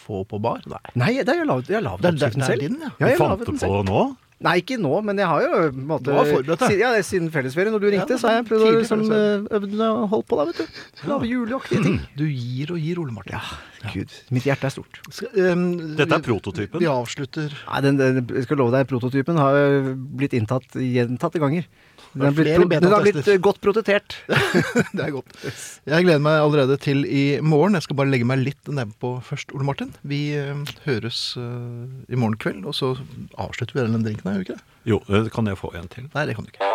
S2: få på bar? Nei.
S6: Nei, det er jo lavet, jeg har lavet
S2: Det er- det er-
S6: oppskriften
S2: det er
S6: selv.
S2: din, ja.
S6: jeg
S3: du
S6: har
S3: fant
S6: laget
S3: det
S6: den
S3: på
S6: selv.
S3: nå?
S6: Nei, ikke nå, men jeg har jo på en måte,
S2: Du var forberedt, da.
S6: siden, ja, det er siden fellesferien, når du ringte,
S2: Ja,
S6: så har jeg prøvd å
S2: tidlig
S6: liksom,
S2: fellesferie.
S6: eh, øvd og holdt på, da, vet du. Lage juleaktige ting.
S2: Du gir og gir, Ole Martin.
S6: Gud, mitt hjerte er stort.
S2: Skal, ehm,
S3: Dette er
S2: vi-
S3: prototypen.
S2: Vi avslutter
S6: Nei, den, den, jeg skal love deg, prototypen har ø, blitt inntatt gjentatte ganger. Den
S2: Det
S6: har
S2: er
S6: blitt,
S2: flere
S6: pro- den har
S2: betatester.
S6: blitt ø, godt protetert.
S2: Det er godt. Jeg gleder meg allerede til i morgen. Jeg skal bare legge meg litt nedpå først, Ole Martin. Vi eh, høres eh, i morgen kveld, og så avslutter vi den drinken, her, gjør vi ikke det?
S3: Jo, eh, kan jeg få en til?
S2: Nei, det kan du ikke.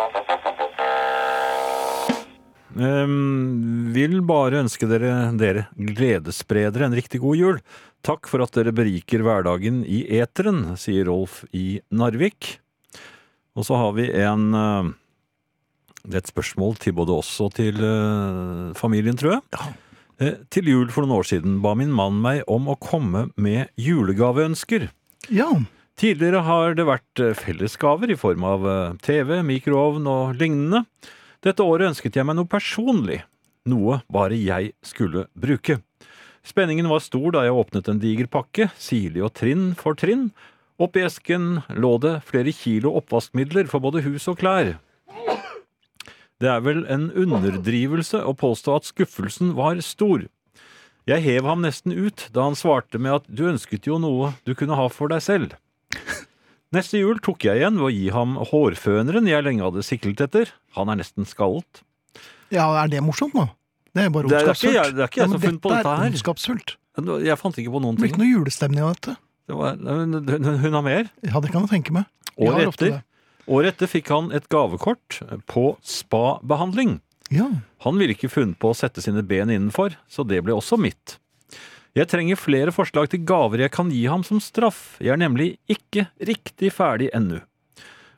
S3: Ehm, vil bare ønske dere, dere gledesspredere en riktig god jul. Takk for at dere beriker hverdagen i eteren, sier Rolf i Narvik. Og så har vi en eh, Det er et spørsmål til både oss og til eh, familien, tror jeg. Eh, Til jul for noen år siden ba min mann meg om å komme med julegaveønsker.
S2: Ja.
S3: Tidligere har det vært eh, fellesgaver i form av eh, TV, mikroovn og lignende. Dette året ønsket jeg meg noe personlig, noe bare jeg skulle bruke. Spenningen var stor da jeg åpnet en diger pakke, sirlig og trinn for trinn. Oppi esken lå det flere kilo oppvaskmidler for både hus og klær. Det er vel en underdrivelse å påstå at skuffelsen var stor. Jeg hev ham nesten ut da han svarte med at du ønsket jo noe du kunne ha for deg selv. Neste jul tok jeg igjen ved å gi ham hårføneren jeg lenge hadde siklet etter. Han er nesten skallet.
S2: ja, er det morsomt nå? Det er bare
S3: Det er- det er ikke
S2: ondskapsfullt.
S3: jeg- det er ikke jeg
S2: Ja, men
S3: som har funnet på dette her.
S2: er ondskapsfullt.
S3: Jeg fant ikke på noen
S2: Det blir
S3: ting.
S2: ikke noe julestemning av dette.
S3: Det var, hun, hun har mer.
S2: Ja, det kan jeg tenke meg. Vi har
S3: Året
S2: ofte
S3: etter,
S2: det.
S3: året etter fikk han et gavekort på spabehandling.
S2: Ja.
S3: Han ville ikke funnet på å sette sine ben innenfor, så det ble også mitt. Jeg trenger flere forslag til gaver jeg kan gi ham som straff. Jeg er nemlig ikke riktig ferdig ennå.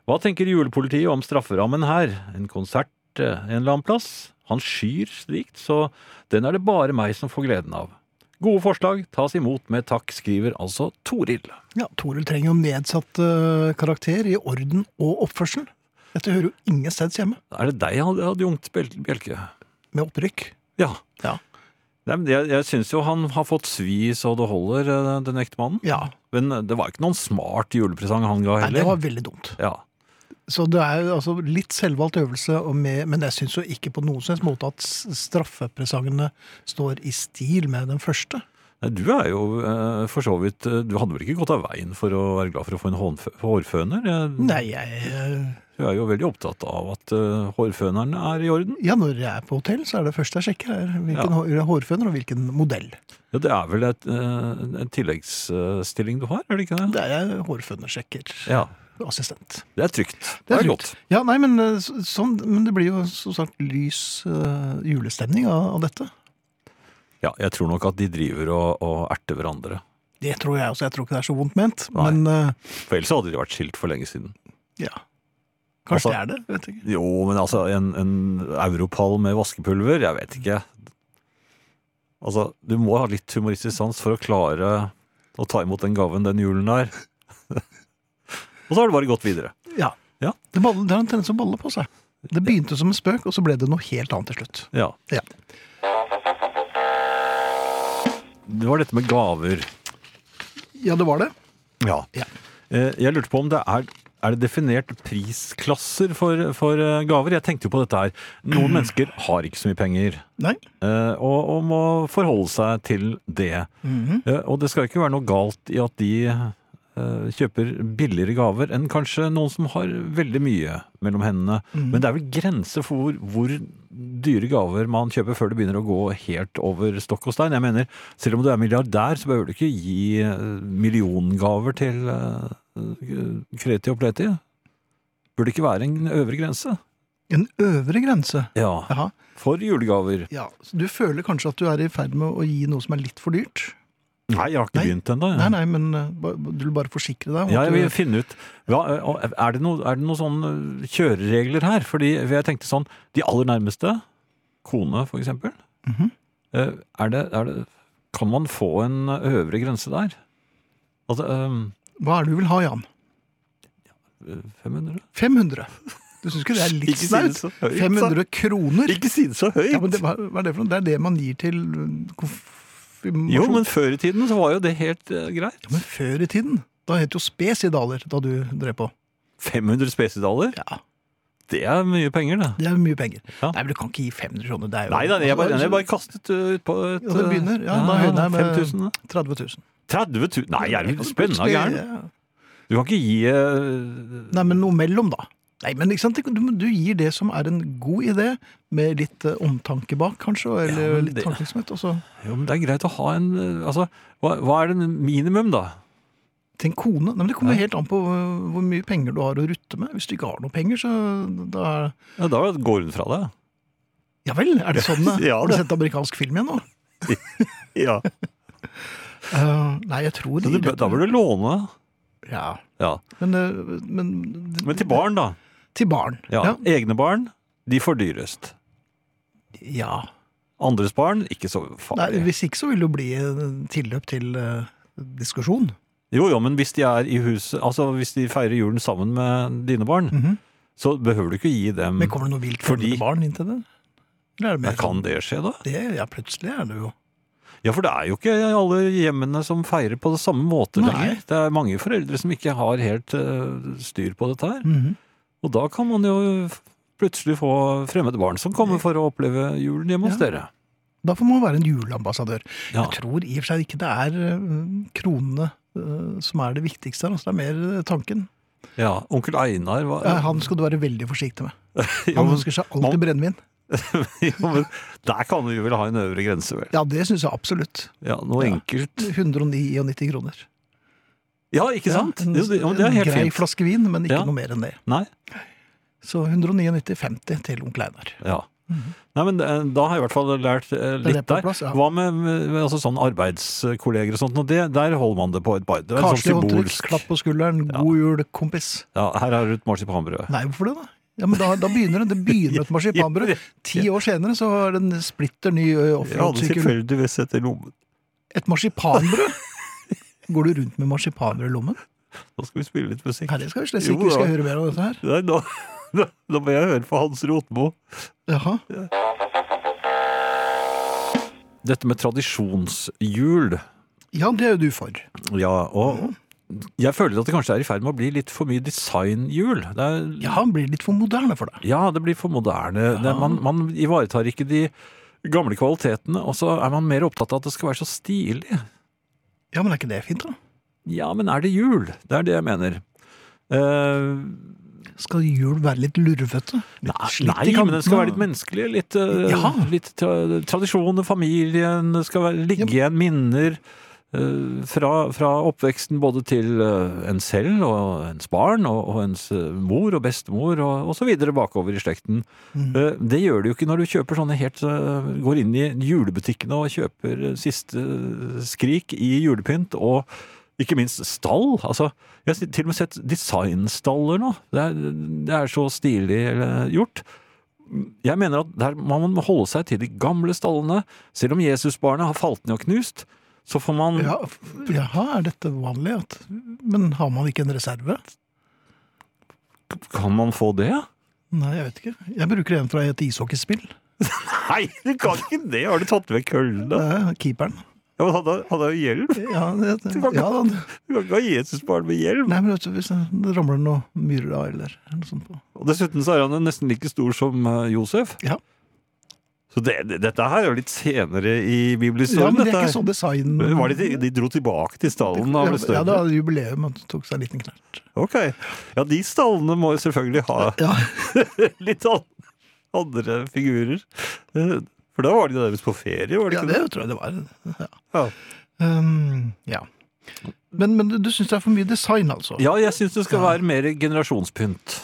S3: Hva tenker julepolitiet om strafferammen her? En konsert eh, en eller annen plass? Han skyr slikt, så den er det bare meg som får gleden av. Gode forslag tas imot med takk, skriver altså Toril.
S2: ja, Toril trenger jo nedsatt eh, karakter i orden og oppførsel. Dette hører jo ingen steds hjemme,
S3: Er det deg, adjunkt Bjel- Bjelke?
S2: med opprykk.
S3: Ja.
S2: Ja.
S3: Nei, men jeg jeg syns jo han har fått svi så det holder, eh, den ekte mannen.
S2: Ja,
S3: Men eh, det var ikke noen smart julepresang han ga
S2: Nei,
S3: heller.
S2: det var veldig dumt.
S3: ja.
S2: Så det er jo altså litt selvvalgt øvelse, og med, men jeg syns jo ikke på noen som helst måte at s- straffepresangene står i stil med den første.
S3: Nei, Du er jo eh, for så vidt eh, Du hadde vel ikke gått av veien for å være glad for å få en hånfø- hårføner? Eh,
S2: Nei, jeg eh,
S3: Du er jo veldig opptatt av at eh, hårføneren er i orden.
S2: Ja, når jeg er på hotell, så er det første jeg sjekker, er hvilken hår- hårføner og hvilken modell.
S3: Ja, Det er vel et, eh, en tilleggsstilling du har, er det ikke det?
S2: Det er jeg hårfønersjekker.
S3: Ja.
S2: Assistent.
S3: Det er trygt.
S2: Det er
S3: godt.
S2: trygt. Ja, nei, men, eh, så- sånn, men det blir jo som sagt lys eh, julestemning av, av dette.
S3: Ja, jeg tror nok at de driver og, og erter hverandre.
S2: Det tror jeg også. Jeg tror ikke det er så vondt ment.
S3: Nei.
S2: Men eh,
S3: For ellers hadde de vært skilt for lenge siden.
S2: ja. Kanskje
S3: Altså-
S2: det er det. Vet ikke.
S3: Jo, men altså, en, en europall med vaskepulver, jeg vet ikke. Altså, du må ha litt humoristisk sans for å klare å ta imot den gaven den julen er. og så har det bare gått videre.
S2: Ja.
S3: Ja.
S2: Det, baller, det har en tendens til å balle på seg. Det begynte som en spøk, og så ble det noe helt annet til slutt.
S3: Ja.
S2: Ja.
S3: Det var dette med gaver.
S2: Ja, det var det.
S3: Ja.
S2: Ja.
S3: Eh, Jeg lurte på om det er er det definert prisklasser for, for eh, gaver? Jeg tenkte jo på dette her. Noen mennesker har ikke så mye penger.
S2: Nei.
S3: eh, og, og må forholde seg til det. Eh, og det skal ikke være noe galt i at de eh, kjøper billigere gaver enn kanskje noen som har veldig mye mellom hendene.
S2: Mm.
S3: Men det er vel grenser for hvor, hvor dyre gaver man kjøper før det begynner å gå helt over stokk og stein. Jeg mener, selv om du er milliardær, så behøver du ikke gi eh, milliongaver til eh, kreti og pleti. Burde ikke være en øvre grense.
S2: En øvre grense.
S3: Ja,
S2: Jaha.
S3: for julegaver.
S2: Ja, så Du føler kanskje at du er i ferd med å gi noe som er litt for dyrt?
S3: Nei, jeg har ikke
S2: Nei.
S3: begynt ennå. jeg.
S2: Nei, nei, men eh, ba- du vil bare forsikre deg? om
S3: Ja,
S2: at
S3: jeg
S2: du-
S3: vil finne ut hva, er, det noe, er det noen sånne kjøreregler her? Fordi jeg tenkte sånn De aller nærmeste, kone for eksempel
S2: Mhm.
S3: eh, er det, er det, Kan man få en øvre grense der? Altså ehm,
S2: Hva er det du vil ha, Jan?
S3: 500?
S2: 500. Du syns ikke det er litt snaut?
S3: så
S2: 500 kroner?
S3: Ikke si det så høyt!
S2: Ja, men det, hva hva er det for noe? Det er det man gir til eh, konfirmasjon?
S3: jo, men før i tiden så var jo det helt eh, greit.
S2: Ja, men før i tiden? Da het jo spesidaler da du drev på.
S3: 500 spesidaler?
S2: Ja,
S3: Det er mye penger, det.
S2: Det er mye penger.
S3: Ja.
S2: Nei, men du kan ikke gi 500 kroner. Det er jo Altså,
S3: Nei da, jeg bare, jeg bare kastet utpå et eh,
S2: Ja, det begynner. Ja, da høyner jeg med-
S3: 5000.
S2: 30 000.
S3: 30 000? Nei, er du spennende
S2: Plutselig-
S3: gæren?
S2: ja.
S3: Du kan ikke gi eh,
S2: Nei, men noe mellom, da. Nei, men ikke sant? Du, du gir det som er en god idé, med litt eh, omtanke bak, kanskje, og- eller
S3: Ja, men
S2: litt
S3: det-
S2: tankevirksomhet. Og så
S3: Jo, men det er greit å ha en eh, Altså, hva, hva er det minimum, da?
S2: til en kone. Nei, men Det kommer
S3: Ja.
S2: helt an på eh, hvor mye penger du har å rutte med. Hvis du ikke har noe penger, så da er
S3: Ja, da går hun fra deg.
S2: Ja vel, er det sånn? eh?
S3: Ja,
S2: har du
S3: det-
S2: sett amerikansk film igjen nå?
S3: Ja.
S2: Eh, nei, jeg tror
S3: Så du,
S2: de-
S3: bør- da bør du låne.
S2: Ja.
S3: Ja.
S2: Men, eh, men,
S3: Men til barn, da.
S2: Til barn.
S3: Ja. Egne barn, de får dyrest.
S2: Ja.
S3: Andres barn, ikke så
S2: Nei,
S3: farlig.
S2: hvis ikke så vil det jo bli eh, tilløp til eh, diskusjon.
S3: Jo, jo, men hvis de er i huset, altså hvis de feirer julen sammen med dine barn,
S2: Mhm.
S3: så behøver du ikke gi dem
S2: Men kommer det noe vilt
S3: Fordi-
S2: fremmede barn inn til det? Eller er det
S3: Men
S2: mer sånn-
S3: Kan det skje, da?
S2: Det, ja, plutselig er det jo
S3: Ja, for det er jo ikke alle hjemmene som feirer på det samme måte
S2: Nei.
S3: lenger. Det er mange foreldre som ikke har helt eh, styr på dette her.
S2: Mhm.
S3: Og da kan man jo f- plutselig få fremmede barn som kommer for å oppleve julen hjemme hos
S2: Ja.
S3: dere.
S2: Da får man være en juleambassadør.
S3: Ja.
S2: Jeg tror i og for seg ikke det er eh, kronene eh, som er det viktigste her. Altså, det er mer eh, tanken.
S3: ja. Onkel Einar var
S2: Eh, Han skal du være veldig forsiktig med.
S3: jo,
S2: Han
S3: men,
S2: ønsker seg
S3: man-
S2: alltid brennevin.
S3: jo, men Der kan vi vel ha en øvre grense, vel.
S2: Ja, det syns jeg absolutt.
S3: Ja, Noe
S2: Ja.
S3: enkelt.
S2: 199 kroner.
S3: Ja, ikke sant?
S2: en,
S3: Jo, det, jo, det er helt
S2: en grei
S3: fint.
S2: flaske vin, men ikke
S3: Ja.
S2: noe mer enn det.
S3: Nei,
S2: Så 199,50 til onkel Einar.
S3: ja. Nei, men eh, Da har jeg i hvert fall lært eh,
S2: er på
S3: litt der.
S2: plass, Mhm. ja.
S3: Hva med, med altså, sånn arbeidskolleger og sånt? Og det, der holder man det på et bar. Det er sånn
S2: Karslig håndtrykk,
S3: symbolsk.
S2: klapp på skulderen, god jul, kompis.
S3: Ja, her har du et marsipanbrød.
S2: Nei, hvorfor det, da? Ja, men da, da begynner det. Det begynner et marsipanbrød. Ti år senere så er det en splitter ny ø,
S3: Jeg hadde
S2: offroad-sykkel.
S3: tilfeldigvis sett i lommen.
S2: Et marsipanbrød? Går du rundt med marsipanbrød i lommen?
S3: Nå skal vi spille litt musikk.
S2: Nei, det skal vi slett
S3: Jo,
S2: ikke. Vi skal
S3: da.
S2: høre mer om dette her.
S3: Nei, nå, nå, nå må jeg høre på Hans Rotmo.
S2: Jaha.
S3: Dette med tradisjonshjul,
S2: Ja, det er jo du for.
S3: ja, og jeg føler at det kanskje er i ferd med å bli litt for mye designhjul. Det er,
S2: Ja, han blir litt for moderne for deg.
S3: Ja, det blir for moderne. Det, man, man ivaretar ikke de gamle kvalitetene, og så er man mer opptatt av at det skal være så stilig.
S2: Ja, men er ikke det fint, da?
S3: Ja, men er det jul? Det er det jeg mener. Eh,
S2: Skal jul være litt lurvete? Litt
S3: nei,
S2: slitt i
S3: nei men den
S2: kantene?
S3: skal være litt menneskelig. Litt, eh,
S2: Ja.
S3: litt tra tradisjoner, familien. Det skal være, ligge igjen minner eh, fra, fra oppveksten både til eh, en selv og ens barn og, og ens eh, mor og bestemor og, og så videre bakover i slekten. Eh, det gjør det jo ikke når du kjøper sånne helt eh, Går inn i julebutikkene og kjøper eh, siste skrik i julepynt og ikke minst stall. Altså, jeg har til og med sett designstaller nå. Det er, det er så stilig eh, gjort. Jeg mener at der man må holde seg til de gamle stallene. Selv om Jesusbarnet har falt ned og knust, så får man
S2: Ja, f- jaha, er dette vanlig? At, men har man ikke en reserve?
S3: Kan man få det?
S2: Nei, jeg vet ikke. Jeg bruker en fra et ishockeyspill.
S3: Nei, du kan ikke det! Har du tatt vekk
S2: Det
S3: køllene?
S2: er keeperen.
S3: Ja, men han har- han har jo hjelm!
S2: Ja, det,
S3: kan ikke-
S2: ja da.
S3: Du kan ikke ha Jesusbarn med hjelm!
S2: Nei, men vet du, hvis det ramler noe myrer av, eller noe sånt på.
S3: Og dessuten så er han jo nesten like stor som eh, Josef.
S2: Ja.
S3: Så det, det, dette her er jo litt senere i
S2: Ja,
S3: bibelhistorien.
S2: men det er
S3: dette
S2: ikke
S3: her.
S2: sånn design...
S3: Var det de, de dro tilbake til stallen
S2: Ja,
S3: og ble
S2: men- ja, det
S3: større?
S2: var jubileum, og tok seg en liten knert.
S3: Ok. Ja, de stallene må jo selvfølgelig ha
S2: Ja,
S3: litt an- andre figurer. Eh, For da var de nærmest på ferie, var de
S2: ja
S3: ikke
S2: det tror jeg det var. Ja.
S3: Ja.
S2: Um, ja. Men, men du syns det er for mye design, altså?
S3: Ja, jeg syns det skal
S2: Ja.
S3: være mer generasjonspynt.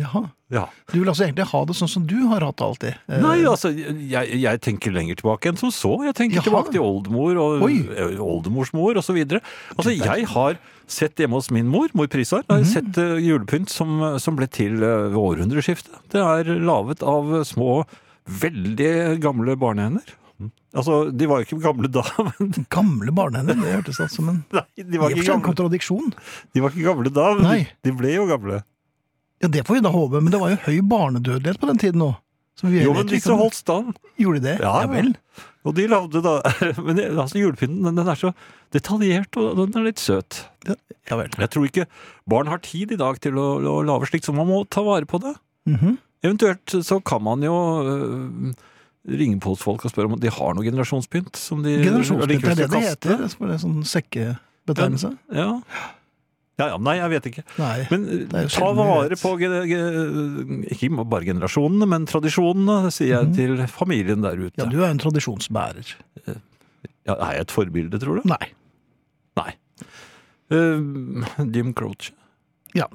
S2: Jaha.
S3: Ja.
S2: Du vil altså egentlig ha det sånn som du har hatt det alltid? Eh,
S3: Nei, altså, jeg, jeg tenker lenger tilbake enn som så. Jeg tenker
S2: Jaha.
S3: tilbake til oldemor og
S2: Oi.
S3: eh, oldemors mor osv. Altså, jeg har sett hjemme hos min mor, mor Prisar, har
S2: Mhm.
S3: jeg sett eh, julepynt som, som ble til eh, ved århundreskiftet. Det er laget av eh, små, veldig gamle barnehender.
S2: Mhm.
S3: Mm. Altså, de var jo ikke gamle da, men
S2: Gamle barnehender, det hørtes ut som en
S3: Nei, de
S2: i
S3: var
S2: og for
S3: ikke
S2: seg en
S3: gamle.
S2: kontradiksjon.
S3: De var ikke gamle da, men
S2: Nei.
S3: de ble jo gamle.
S2: Ja, Det får vi da håpe, men det var jo høy barnedødelighet på den tiden òg.
S3: Jo, men disse holdt stand.
S2: Gjorde de det?
S3: Ja,
S2: vel.
S3: Og de lagde da Men det- altså, julepynten den, den er så detaljert, og den er litt søt.
S2: Ja vel.
S3: Jeg tror ikke barn har tid i dag til å, å lage slikt, så man må ta vare på det.
S2: Mhm.
S3: Eventuelt så kan man jo øh, ringe på hos folk og spørre om de har noe generasjonspynt. Som de
S2: Generasjonspynt,
S3: allikevel
S2: er det det
S3: skal
S2: heter?
S3: kaste.
S2: Det er en sånn sekkebetegnelse?
S3: Ja. ja, ja. Nei, jeg vet ikke.
S2: Nei.
S3: Men øh,
S2: er jo
S3: ta
S2: sjelden vi
S3: vare
S2: vet.
S3: på ge- ge- ikke bare generasjonene, men tradisjonene, sier jeg til familien der ute.
S2: Mhm. Ja, du er en tradisjonsbærer.
S3: Ja, er jeg et forbilde, tror du?
S2: Nei.
S3: Nei. Eh, Jim Croce.
S2: Ja.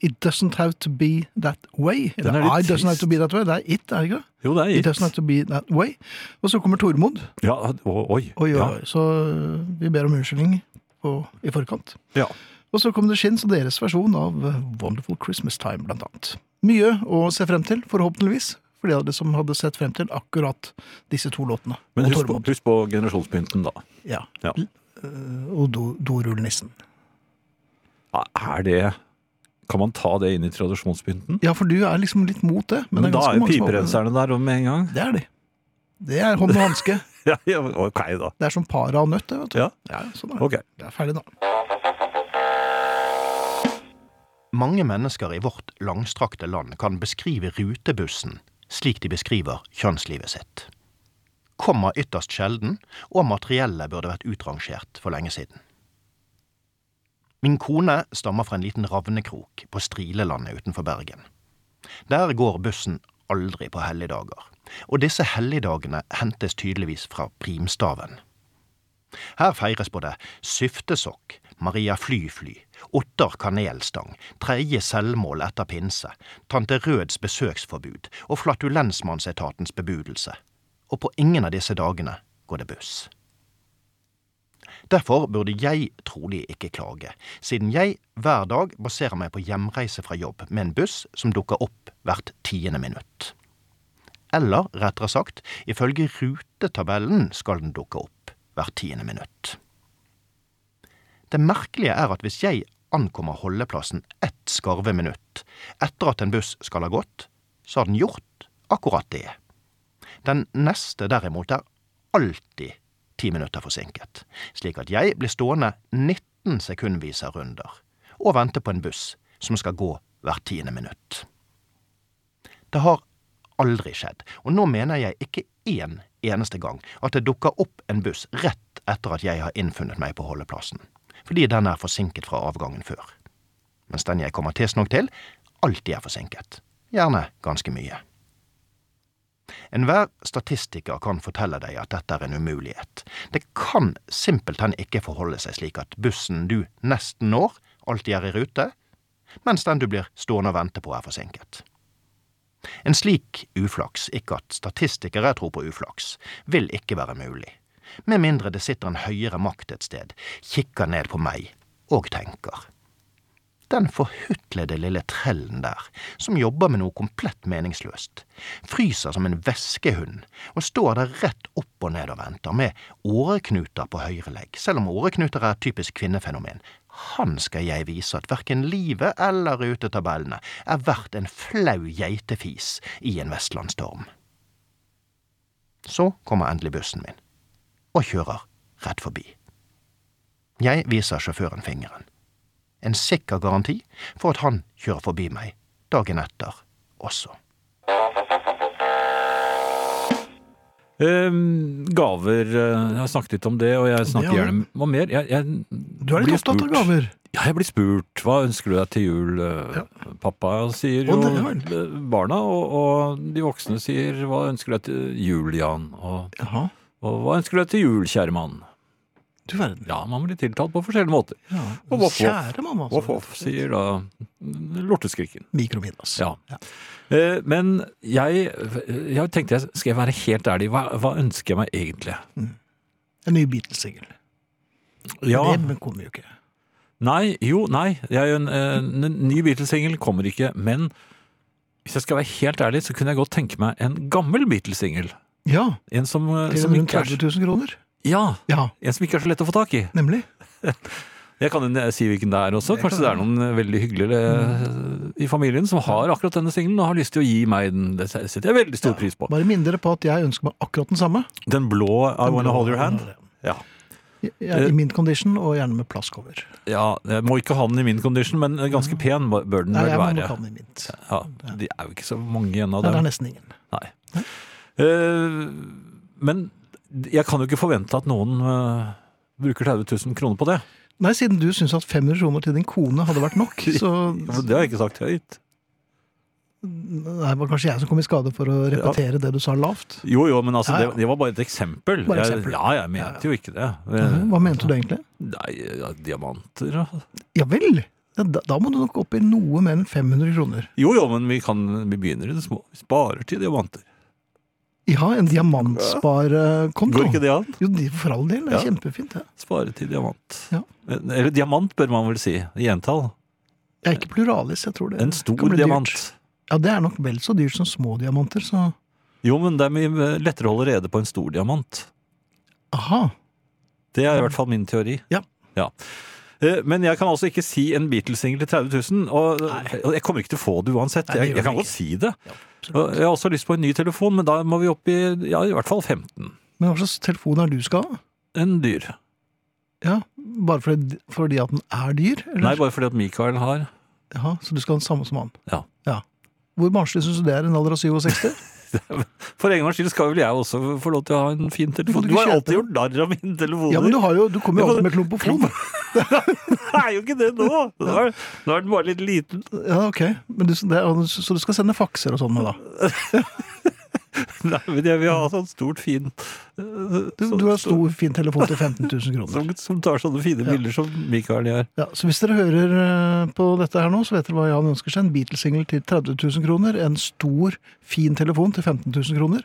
S2: It doesn't have to be that way. Eller
S3: Den er litt
S2: I doesn't have
S3: trist.
S2: to be that way. Det er it, er det ikke? det?
S3: Jo, det er
S2: It doesn't
S3: gitt.
S2: have to be that way. Og så kommer Tormod.
S3: Ja, å- oi.
S2: Oi, oi,
S3: ja.
S2: eh, oi. Så vi ber om unnskyldning på, i forkant.
S3: Ja.
S2: Og så kom The Shins og deres versjon av eh, Wonderful Christmas Time, blant annet. Mye å se frem til, forhåpentligvis, for de av dere som hadde sett frem til akkurat disse to låtene.
S3: Men
S2: og
S3: husk på,
S2: Tormod.
S3: husk på generasjonspynten, da.
S2: Ja.
S3: Ja.
S2: Eh, Og do- dorullnissen.
S3: Er det Kan man ta det inn i tradisjonspynten?
S2: Ja, for du er liksom litt mot det. Men,
S3: Men
S2: det er
S3: da
S2: ganske
S3: er jo
S2: mange som har-
S3: piperenserne der om med en gang.
S2: Det er de. Det er hånd og hanske.
S3: Ja, ja, ok, da.
S2: Det er som para og nøtt, det, vet du.
S3: Ja.
S2: sånn er det.
S3: Ok.
S2: Det er ferdig nå.
S7: Mange mennesker i vårt langstrakte land kan beskrive rutebussen slik de beskriver kjønnslivet sitt. Kommer ytterst sjelden, og materiellet burde vært utrangert for lenge siden. Min kone stammer fra en liten ravnekrok på Strilelandet utenfor Bergen. Der går bussen aldri på helligdager, og disse helligdagene hentes tydeligvis fra primstaven. Her feires både syftesokk, Maria Flyfly, Ottar kanelstang, tredje selvmål etter pinse, Tante Røds besøksforbud og flatulensmannsetatens bebudelse, og på ingen av disse dagene går det buss. Derfor burde jeg trolig ikke klage, siden jeg hver dag baserer meg på hjemreise fra jobb med en buss som dukker opp hvert tiende minutt. Eller, rettere sagt, ifølge rutetabellen skal den dukke opp hvert tiende minutt. Det merkelige er at hvis jeg ankommer holdeplassen ett skarve minutt etter at en buss skal ha gått, så har den gjort akkurat det. Den neste derimot er alltid ti minutter forsinket, slik at jeg blir stående 19 sekundviser runder og vente på en buss som skal gå hvert tiende minutt. Det har aldri skjedd, og nå mener jeg ikke én eneste gang at det dukker opp en buss rett etter at jeg har innfunnet meg på holdeplassen, fordi den er forsinket fra avgangen før. Mens den jeg kommer tidsnok til, alltid er forsinket. Gjerne ganske mye. Enhver statistiker kan fortelle deg at dette er en umulighet. Det kan simpelthen ikke forholde seg slik at bussen du nesten når, alltid er i rute, mens den du blir stående og vente på, er forsinket. En slik uflaks, ikke at statistikere tror på uflaks, vil ikke være mulig. Med mindre det sitter en høyere makt et sted, kikker ned på meg og tenker. Den forhutlede lille trellen der, som jobber med noe komplett meningsløst, fryser som en veskehund og står der rett opp og ned og venter, med åreknuter på høyre legg, selv om åreknuter er et typisk kvinnefenomen. Han skal jeg vise at verken livet eller rutetabellene er verdt en flau geitefis i en vestlandsstorm. Så kommer endelig bussen min, og kjører rett forbi. Jeg viser sjåføren fingeren en sikker garanti for at han kjører forbi meg dagen etter også.
S3: Eh, gaver eh, Jeg har snakket litt om det, og jeg snakker
S2: Det har du.
S3: gjerne Hva mer? Jeg, jeg,
S2: Du er litt
S3: blir
S2: opptatt av
S3: spurt.
S2: gaver.
S3: Ja, jeg blir spurt hva ønsker du deg til jul. eh, Pappa sier
S2: Å,
S3: jo
S2: det er
S3: eh, barna, og, og de voksne sier hva ønsker du deg til jul, Jan? Og,
S2: Jaha.
S3: og hva ønsker du deg til jul, kjære mann?
S2: Du verden.
S3: Ja, man blir tiltalt på forskjellige måter.
S2: Ja.
S3: Og voff, voff.
S2: Kjære mamma,
S3: Voff,
S2: altså.
S3: voff, sier da mm, lorteskriken.
S2: Mikromidas.
S3: Ja. Eh, Men jeg, jeg tenkte, jeg- skal jeg være helt ærlig, hva, hva ønsker jeg meg egentlig?
S2: En ny Beatles-singel.
S3: Ja,
S2: Det kommer jo ikke.
S3: nei, jo, nei. Jeg, en, en, en ny Beatles-singel kommer ikke, men hvis jeg skal være helt ærlig, så kunne jeg godt tenke meg en gammel Beatles-singel.
S2: Ja.
S3: En som, eh,
S2: Til
S3: som,
S2: rundt
S3: ikke er,
S2: 30
S3: så-
S2: 000 kroner.
S3: ja,
S2: Ja,
S3: en som ikke er så lett å få tak i.
S2: nemlig.
S3: Jeg kan jo si hvilken det er også.
S2: Det kan Mm.
S3: Kanskje det er noen veldig hyggelige eh, i familien som har akkurat denne singelen og har lyst til å gi meg den. Det setter jeg veldig stor pris på.
S2: Bare minn dere på at jeg ønsker meg akkurat den samme.
S3: Den blå I Wanna
S2: blå
S3: Hold Your
S2: I Wanna
S3: Hand. Ja.
S2: Jeg er I min condition, og gjerne med plastcover.
S3: ja, Jeg må ikke ha den i min condition, men ganske pen bør den
S2: Mm. Nei,
S3: vel
S2: jeg må nok
S3: være.
S2: ha den i mint.
S3: Ja, de er jo ikke så mange igjen
S2: Nei,
S3: av
S2: det er
S3: dem.
S2: nesten ingen.
S3: Nei. Eh, men jeg kan jo ikke forvente at noen eh, bruker 30 000 kroner på det.
S2: Nei, siden du syns at 500 kroner til din kone hadde vært nok, så
S3: Det har jeg ikke sagt høyt.
S2: Nei, det var kanskje jeg som kom i skade for å repetere det du sa lavt.
S3: Jo, jo, men altså,
S2: Ja, ja.
S3: det, det var bare et eksempel.
S2: Bare
S3: Jeg-
S2: eksempel. Mhm,
S3: Ja, jeg mente jo ikke det.
S2: Hva mente du egentlig?
S3: Nei, ja, diamanter altså. og
S2: Ja vel! Ja, Da, da må du nok opp i noe mer enn 500 kroner.
S3: Jo, jo, men vi, kan, vi begynner i det små. Vi sparer til diamanter.
S2: Ja, en diamantsparekonto.
S3: Går ikke det an?
S2: Jo, de- for all del. Det er
S3: Ja.
S2: kjempefint. det.
S3: Spare til diamant. Eh,
S2: Ja.
S3: Eller diamant, bør man vel si. i Entall.
S2: Jeg er ikke pluralis, jeg tror det.
S3: En
S2: kan
S3: stor
S2: bli dyrt.
S3: diamant.
S2: Ja, det er nok vel så dyrt som små diamanter, så
S3: Jo, men det er mye eh, lettere å holde rede på en stor diamant.
S2: aha.
S3: Det er i hvert fall min teori.
S2: Ja.
S3: Eh, Men jeg kan altså ikke si en Beatles-singel til 30 000, og, og jeg kommer ikke til å få det uansett.
S2: Nei, det gjør
S3: jeg, jeg kan
S2: vi
S3: godt si det.
S2: absolutt.
S3: Og jeg har også lyst på en ny telefon, men da må vi opp i ja, i hvert fall 15.
S2: Men hva slags telefon er det du skal ha?
S3: En dyr.
S2: Ja, Bare fordi, fordi at den er dyr?
S3: Nei,
S2: Eller?
S3: bare fordi at Michael har
S2: Jaha, så du skal ha den samme som han?
S3: Ja.
S2: Hvor barnslig syns du det er i en alder av 67?
S3: For egen gangs skyld skal vel jeg også få lov til å ha en fin telefon.
S2: Kan du
S3: Du
S2: ikke
S3: har
S2: kjøpe
S3: alltid gjort narr av mine telefoner.
S2: Ja, men du, har jo, du kommer jo alltid med klumpofon.
S3: Det er jo ikke det nå! Nå er, nå er den bare litt liten.
S2: Ja, ok. Men du, det, er- så du skal sende fakser og sånn med, da?
S3: Nei, men jeg vil ha sånn stort, fin eh,
S2: Du,
S3: sånn-
S2: du har stor, fin telefon til 15 000 kroner.
S3: som, som tar sånne fine bilder som Michael gjør.
S2: Ja, så hvis dere hører eh, på dette her nå, så vet dere hva Jan ønsker seg. En Beatles-singel til 30 000 kroner. En stor, fin telefon til 15 000 kroner.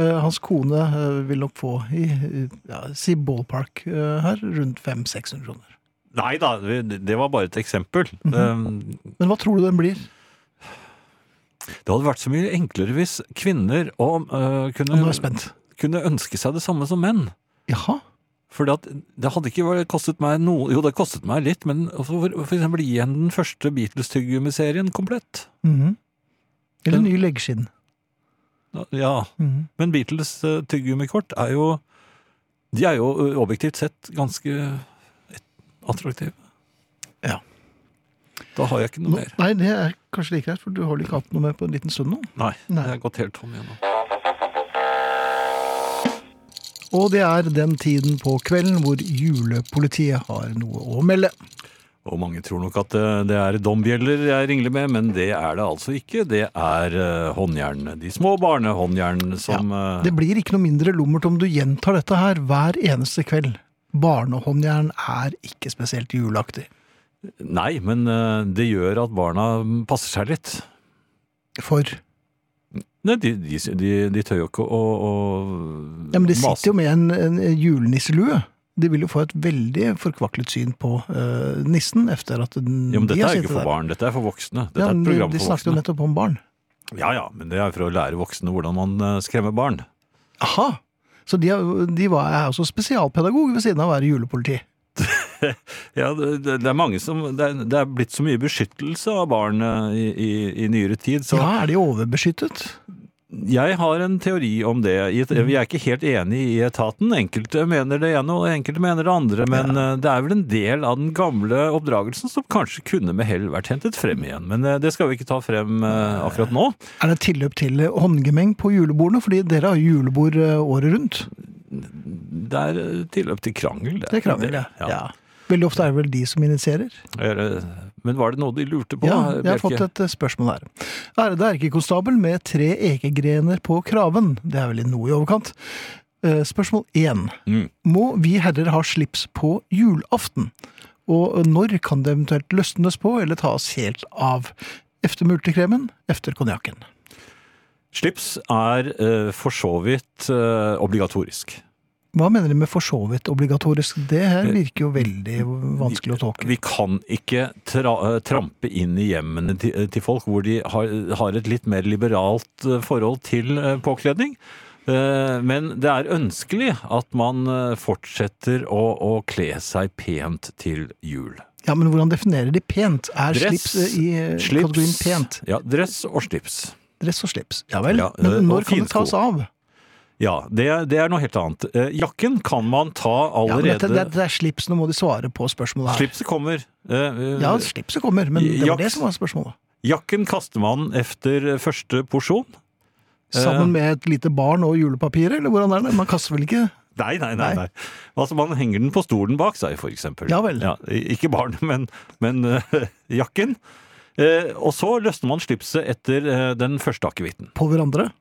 S2: Eh, hans kone eh, vil nok få i, i- ja, si ballpark eh, her, rundt 500-600 kroner.
S3: Nei da, det det var bare et eksempel.
S2: Mhm.
S3: Um,
S2: Men hva tror du den blir?
S3: Det hadde vært så mye enklere hvis kvinner og, øh,
S2: Nå er
S3: kunne,
S2: jeg spent.
S3: kunne ønske seg det samme som menn.
S2: Jaha?
S3: For det hadde ikke vært- kostet meg noe Jo, det kostet meg litt, men også for, for eksempel gi henne den første Beatles-tyggegummiserien komplett.
S2: Mhm. Eller ny leggskinn.
S3: Ja,
S2: Mhm.
S3: men Beatles øh, tyggegummikort er jo De er jo øh, objektivt sett ganske eh, attraktive.
S2: Ja.
S3: Da har jeg ikke noe
S2: Nå,
S3: mer.
S2: nei, det er kanskje like greit, for du har vel ikke hatt noe mer på en liten stund nå?
S3: Nei.
S2: Nei.
S3: Jeg har gått helt tom igjennom.
S2: Og det er den tiden på kvelden hvor julepolitiet har noe å melde.
S3: Og mange tror nok at eh, det er dombjeller jeg ringler med, men det er det altså ikke. Det er eh, håndjern. De små barnehåndjern som eh,
S2: Det blir ikke noe mindre lummert om du gjentar dette her hver eneste kveld. Barnehåndjern er ikke spesielt juleaktig.
S3: Nei, men eh, det gjør at barna mm, passer seg litt.
S2: For
S3: Nei, de, de, de, de tør jo ikke å, å
S2: ja, men de sitter
S3: mase.
S2: jo med en, en julenisselue. De vil jo få et veldig forkvaklet syn på eh, nissen etter at den,
S3: Ja, men
S2: de
S3: dette
S2: har
S3: er
S2: sittet
S3: ikke for
S2: der.
S3: barn, dette er for voksne. Dette
S2: Ja,
S3: er et
S2: men de,
S3: program
S2: de
S3: for
S2: snakket jo
S3: voksne.
S2: nettopp om barn.
S3: Ja, ja, men det er for å lære voksne hvordan man eh, skremmer barn.
S2: Aha! Så de, har- de var, er også spesialpedagog ved siden av å være julepoliti.
S3: Ja, det, det det er mange som det er, det er blitt så mye beskyttelse av barn eh, i, i, i nyere tid, så
S2: Ja, er de overbeskyttet?
S3: Jeg har en teori om det. I et-
S2: Mm.
S3: Vi er ikke helt enige i etaten. Enkelte mener det ene, og enkelte mener det andre. Men eh, det er vel en del av den gamle oppdragelsen som kanskje kunne med hell vært hentet frem igjen. Men eh, det skal vi ikke ta frem eh, akkurat nå.
S2: Er det tilløp til håndgemeng på julebordene? Fordi dere har jo julebord eh, året rundt.
S3: Det er eh, tilløp til krangel.
S2: Det er krangel, ja. ja. Veldig ofte er det vel de som initierer.
S3: Eller, Men var det noe de lurte på?
S2: Ja, jeg har
S3: Bjerke?
S2: fått et eh, spørsmål her. Ærede erkekonstabel med tre ekegrener på kraven. Det er vel noe i overkant. Eh, Spørsmål én.
S3: Mm.
S2: Må vi herrer ha slips på julaften? Og når kan det eventuelt løsnes på eller tas helt av? Efter multekremen, efter konjakken.
S3: Slips er eh, for så vidt eh, obligatorisk.
S2: Hva mener de med for så vidt obligatorisk? Det
S3: Eh,
S2: her virker jo veldig vanskelig å tolke.
S3: Vi kan ikke tra eh, trampe inn i hjemmene til, til folk hvor de har, har et litt mer liberalt eh, forhold til eh, påkledning. Eh, Men det er ønskelig at man eh, fortsetter å, å kle seg pent til jul.
S2: Ja, Men hvordan definerer de pent? Er
S3: Dress,
S2: slips eh, i eh, kategorien pent?
S3: Ja, dress og slips.
S2: Dress og slips. Ja vel.
S3: Ja, eh,
S2: men
S3: og
S2: når kan det
S3: finsko.
S2: tas av?
S3: Ja, det, det er noe helt annet. Eh, Jakken kan man ta
S2: Ja, men
S3: allerede
S2: dette, dette er slips, nå må de svare på spørsmålet her.
S3: Slipset kommer. Eh, eh,
S2: Ja, slipset kommer, men det var
S3: Jakt.
S2: det som var spørsmålet.
S3: Jakken kaster man efter første porsjon. Eh,
S2: Sammen med et lite barn og julepapir, eller hvordan er det? Man kaster vel ikke
S3: Nei, nei, nei.
S2: Nei.
S3: nei. Altså, Man henger den på stolen bak seg, for eksempel.
S2: Ja vel.
S3: i- ikke barnet, men, men eh, jakken. Eh, og så løsner man slipset etter eh, den første akevitten.
S2: på hverandre?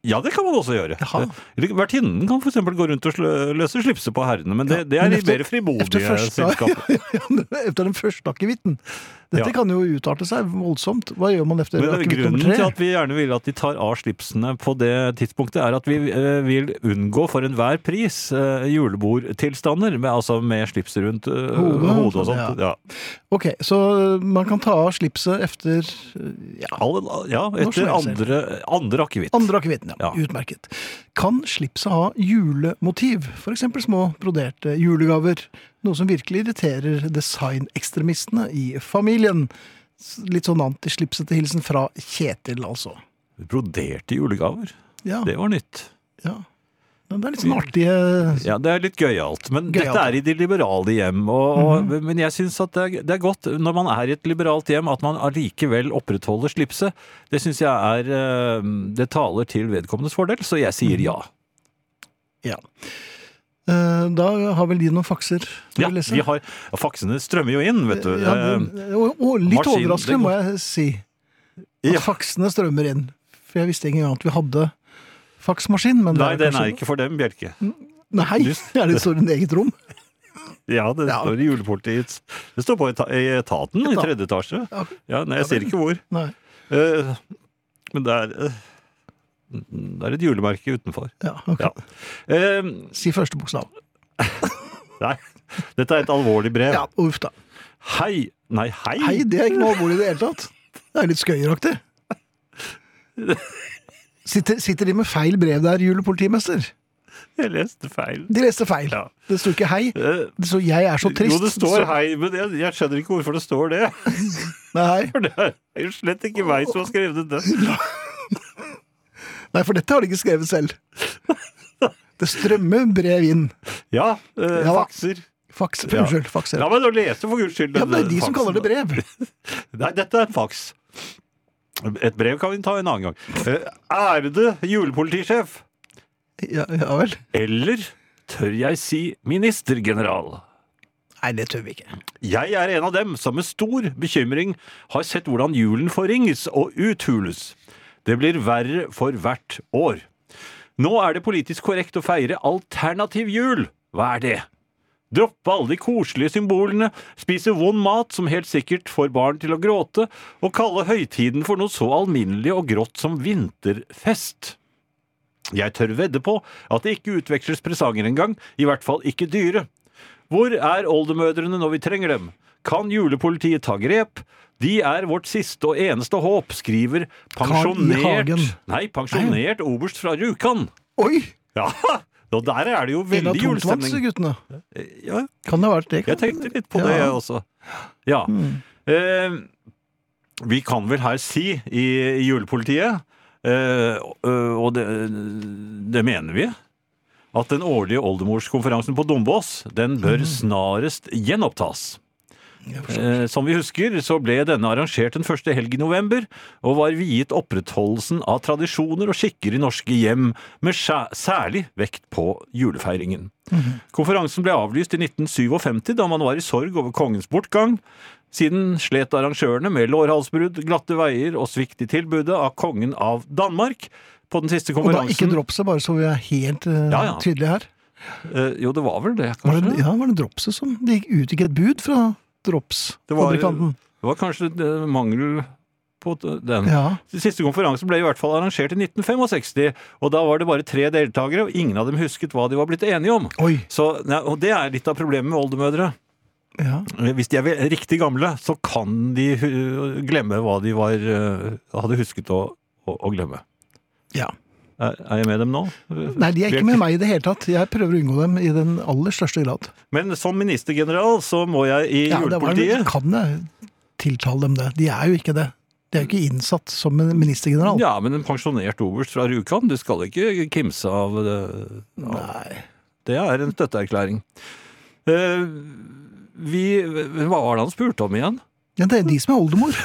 S3: Ja, det kan man også gjøre.
S2: Jaha.
S3: Eh, eller Vertinnen kan f.eks. gå rundt og slø- løse slipset på herrene, men det,
S2: Ja,
S3: det er
S2: men
S3: i
S2: efter-
S3: mer frimodige
S2: Efter, første,
S3: selskaper.
S2: ja, ja, ja, efter den første akevitten. Dette
S3: Ja.
S2: kan jo utarte seg voldsomt. Hva gjør man etter
S3: Men det er
S2: aktivitet
S3: grunnen
S2: nummer
S3: til
S2: tre?
S3: at vi gjerne vil at de tar av slipsene på det tidspunktet, er at vi eh, vil unngå for enhver pris eh, julebordtilstander, med, altså med slips rundt eh,
S2: Hodet.
S3: hodet, og
S2: sånn,
S3: sånt. Ja.
S2: Ok, så øh, man kan ta av slipset efter øh, ja,
S3: Alle- ja
S2: Når som
S3: etter
S2: helst.
S3: andre, andre akevitt.
S2: andre akevitten. Ja.
S3: Ja.
S2: Utmerket. Kan slipset ha julemotiv? F.eks. små broderte julegaver. Noe som virkelig irriterer designekstremistene i familien. S- Litt sånn antislipsete hilsen fra Kjetil, altså.
S3: Broderte julegaver.
S2: Ja,
S3: Det var nytt.
S2: ja. Men det er litt sånn artige
S3: Ja, det er litt gøyalt.
S2: Gøyalt, Mhm.
S3: Men dette er i de liberale hjem. Og, og, Men jeg syns at det er, det er godt når man er i et liberalt hjem, at man allikevel opprettholder slipset. Det syns jeg er eh, Det taler til vedkommendes fordel, så jeg
S2: Mhm.
S3: sier ja.
S2: Ja. Eh, Da har vel de noen fakser? til
S3: Ja,
S2: å lese?
S3: vi har, ja, Faksene strømmer jo inn, vet du. Eh,
S2: Ja, det- og, og litt
S3: maskin-
S2: overraskende,
S3: det
S2: må
S3: går-
S2: jeg si,
S3: Eh,
S2: at
S3: ja.
S2: faksene strømmer inn. For jeg visste ikke engang at vi hadde faksmaskin. Men
S3: Nei,
S2: det sånn.
S3: den er ikke for dem, Bjelke.
S2: Nei,
S3: Just-
S2: er det står i eget rom?
S3: Ja, det
S2: Ja.
S3: står i julepolitiets Det står på eta- i etaten, i
S2: Etaten.
S3: tredje etasje.
S2: Ja.
S3: Ja, nei, jeg sier ikke hvor.
S2: Nei.
S3: Eh, Men det er eh, Det er et julemerke utenfor.
S2: Ja, ok.
S3: Ja. Eh,
S2: Si første bokstav.
S3: Nei, dette er et alvorlig brev.
S2: Ja, uff da.
S3: Hei Nei, hei!
S2: Hei, det er ikke noe alvorlig i det hele tatt. Det er litt skøyeraktig. Sitter, sitter de med feil brev der, julepolitimester?
S3: Jeg leste feil.
S2: De leste feil.
S3: Ja.
S2: Det sto ikke 'hei'.
S3: Eh,
S2: Det sto 'jeg er så trist'.
S3: jo, det står
S2: Så-
S3: hei, men jeg, jeg skjønner ikke hvorfor det står det.
S2: Nei.
S3: For det er jo slett ikke meg som har skrevet det.
S2: Nei, for dette har de ikke skrevet selv. Det strømmer brev inn.
S3: Ja, eh,
S2: Ja da.
S3: fakser.
S2: Faks,
S3: Ja.
S2: Unnskyld, fakser.
S3: La meg nå lese, for guds skyld.
S2: Ja, men det er de som kaller det brev.
S3: Nei, dette er en faks. Et brev kan vi ta en annen gang. Eh, Ærede julepolitisjef,
S2: Ja, ja vel.
S3: eller tør jeg si ministergeneral?
S2: Nei, det tør vi ikke.
S3: Jeg er en av dem som med stor bekymring har sett hvordan julen forringes og uthules. Det blir verre for hvert år. Nå er det politisk korrekt å feire alternativ jul. Hva er det? Droppe alle de koselige symbolene, spise vond mat som helt sikkert får barn til å gråte, og kalle høytiden for noe så alminnelig og grått som vinterfest. Jeg tør vedde på at det ikke utveksles presanger engang, i hvert fall ikke dyre. Hvor er oldemødrene når vi trenger dem? Kan julepolitiet ta grep? De er vårt siste og eneste håp, skriver
S2: Carl I.
S3: pensjonert
S2: Hagen.
S3: Nei, pensjonert oberst fra Rjukan.
S2: Oi!
S3: Ja, og der er det jo
S2: En av
S3: veldig julestemning.
S2: tomtvannsguttene.
S3: Ja,
S2: Kan det ha vært det?
S3: jeg tenkte litt på
S2: Ja. Mm.
S3: det, jeg også. Ja. Eh, vi kan vel her si i, i julepolitiet, eh, og- og det, det mener vi, at den årlige oldemorskonferansen på Dombås, den
S2: Mm.
S3: bør snarest gjenopptas.
S2: Jeg forstår.
S3: Eh, som vi husker, så ble denne arrangert den første helg i november, og var viet oppretholdelsen av tradisjoner og skikker i norske hjem, med skjæ- særlig vekt på julefeiringen.
S2: Mhm.
S3: Konferansen ble avlyst i 1957, da man var i sorg over kongens bortgang. Siden slet arrangørene med lårhalsbrudd, glatte veier og svikt i tilbudet av kongen av Danmark. På den siste
S2: Og da
S3: konferansen
S2: ikke dropset, bare så vi er helt eh,
S3: Ja, ja.
S2: tydelige her.
S3: Eh, Jo, det var vel det,
S2: Var det,
S3: kanskje?
S2: ja, var det dropset som Det gikk ut ikke et bud fra
S3: Det var-
S2: dropsfabrikanten?
S3: Det var kanskje eh, mangel på t- den.
S2: Ja.
S3: Den Siste konferansen ble i hvert fall arrangert i 1965, og da var det bare tre deltakere, og ingen av dem husket hva de var blitt enige om.
S2: Oi.
S3: Så, nei, og det er litt av problemet med oldemødre.
S2: Ja.
S3: Hvis de er ve- riktig gamle, så kan de hu- glemme hva de var, eh, hadde husket å, å, å glemme.
S2: ja.
S3: Er, er jeg med dem nå?
S2: Nei, de er ikke med meg i det hele tatt. Jeg prøver å unngå dem i den aller største grad.
S3: Men som ministergeneral så må jeg i
S2: Ja, det var,
S3: julepolitiet
S2: kan jeg tiltale dem det? De er jo ikke det. De er jo ikke innsatt som en ministergeneral.
S3: Ja, men en pensjonert oberst fra Rjukan, du skal ikke kimse av det.
S2: Nei.
S3: Det er en støtteerklæring. Eh, vi Hva var det han spurte om igjen?
S2: Ja, det er de som er oldemor.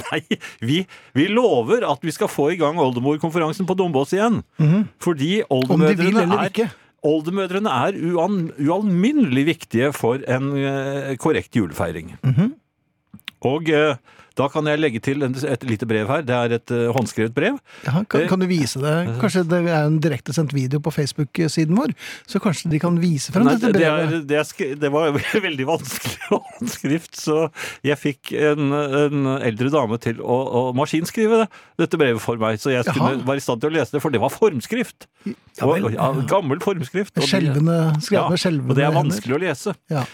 S3: Nei, vi, vi lover at vi skal få i gang oldemorkonferansen på Dombås igjen. Fordi
S2: Mhm. Om de vil
S3: oldemødrene
S2: eller
S3: er,
S2: ikke.
S3: oldemødrene er
S2: Mhm.
S3: uan, ualminnelig viktige for en eh, korrekt julefeiring. Og eh, da kan jeg legge til en- et lite brev her. Det er et eh, håndskrevet brev.
S2: Ja, kan,
S3: Eh,
S2: kan du vise det? Kanskje det er en direktesendt video på Facebook-siden vår? Så kanskje de kan vise frem
S3: Nei,
S2: dette
S3: det, det, er,
S2: brevet?
S3: det, er, skri- det var veldig vanskelig håndskrift, så jeg fikk en, en eldre dame til å, å maskinskrive det, dette brevet for meg. Så jeg
S2: Jaha.
S3: skulle være i stand til å lese det, for det var formskrift.
S2: Ja vel.
S3: Og- og- ja, gammel formskrift. og det-
S2: Skjelvende,
S3: ja,
S2: skrevet med skjelvende
S3: og det er
S2: hender.
S3: vanskelig å lese.
S2: Ja.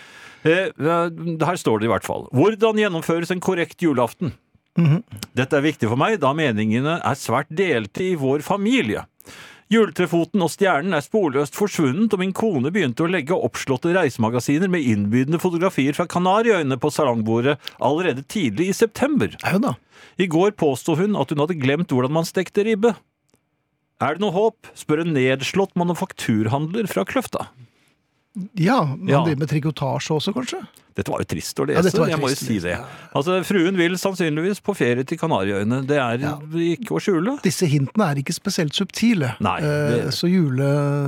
S3: Eh, eh, her står det i hvert fall. Hvordan gjennomføres en korrekt julaften?
S2: Mhm.
S3: Dette er viktig for meg, da meningene er svært delte i vår familie. Juletrefoten og stjernen er sporløst forsvunnet, og min kone begynte å legge oppslåtte reisemagasiner med innbydende fotografier fra Kanariøyene på salongbordet allerede tidlig i september.
S2: Jau da.
S3: I går påsto hun at hun hadde glemt hvordan man stekte ribbe. Er det noe håp? spør en nedslått manufakturhandler fra Kløfta.
S2: Ja, man
S3: Ja.
S2: driver med trikotasje også, kanskje?
S3: Dette var jo trist å
S2: Ja,
S3: lese.
S2: dette var
S3: jeg må jo
S2: trist å
S3: si
S2: lese.
S3: det. Altså, Fruen vil sannsynligvis på ferie til Kanariøyene. Det er
S2: Ja.
S3: ikke å skjule.
S2: Disse hintene er ikke spesielt subtile,
S3: Nei, det-
S2: Eh, så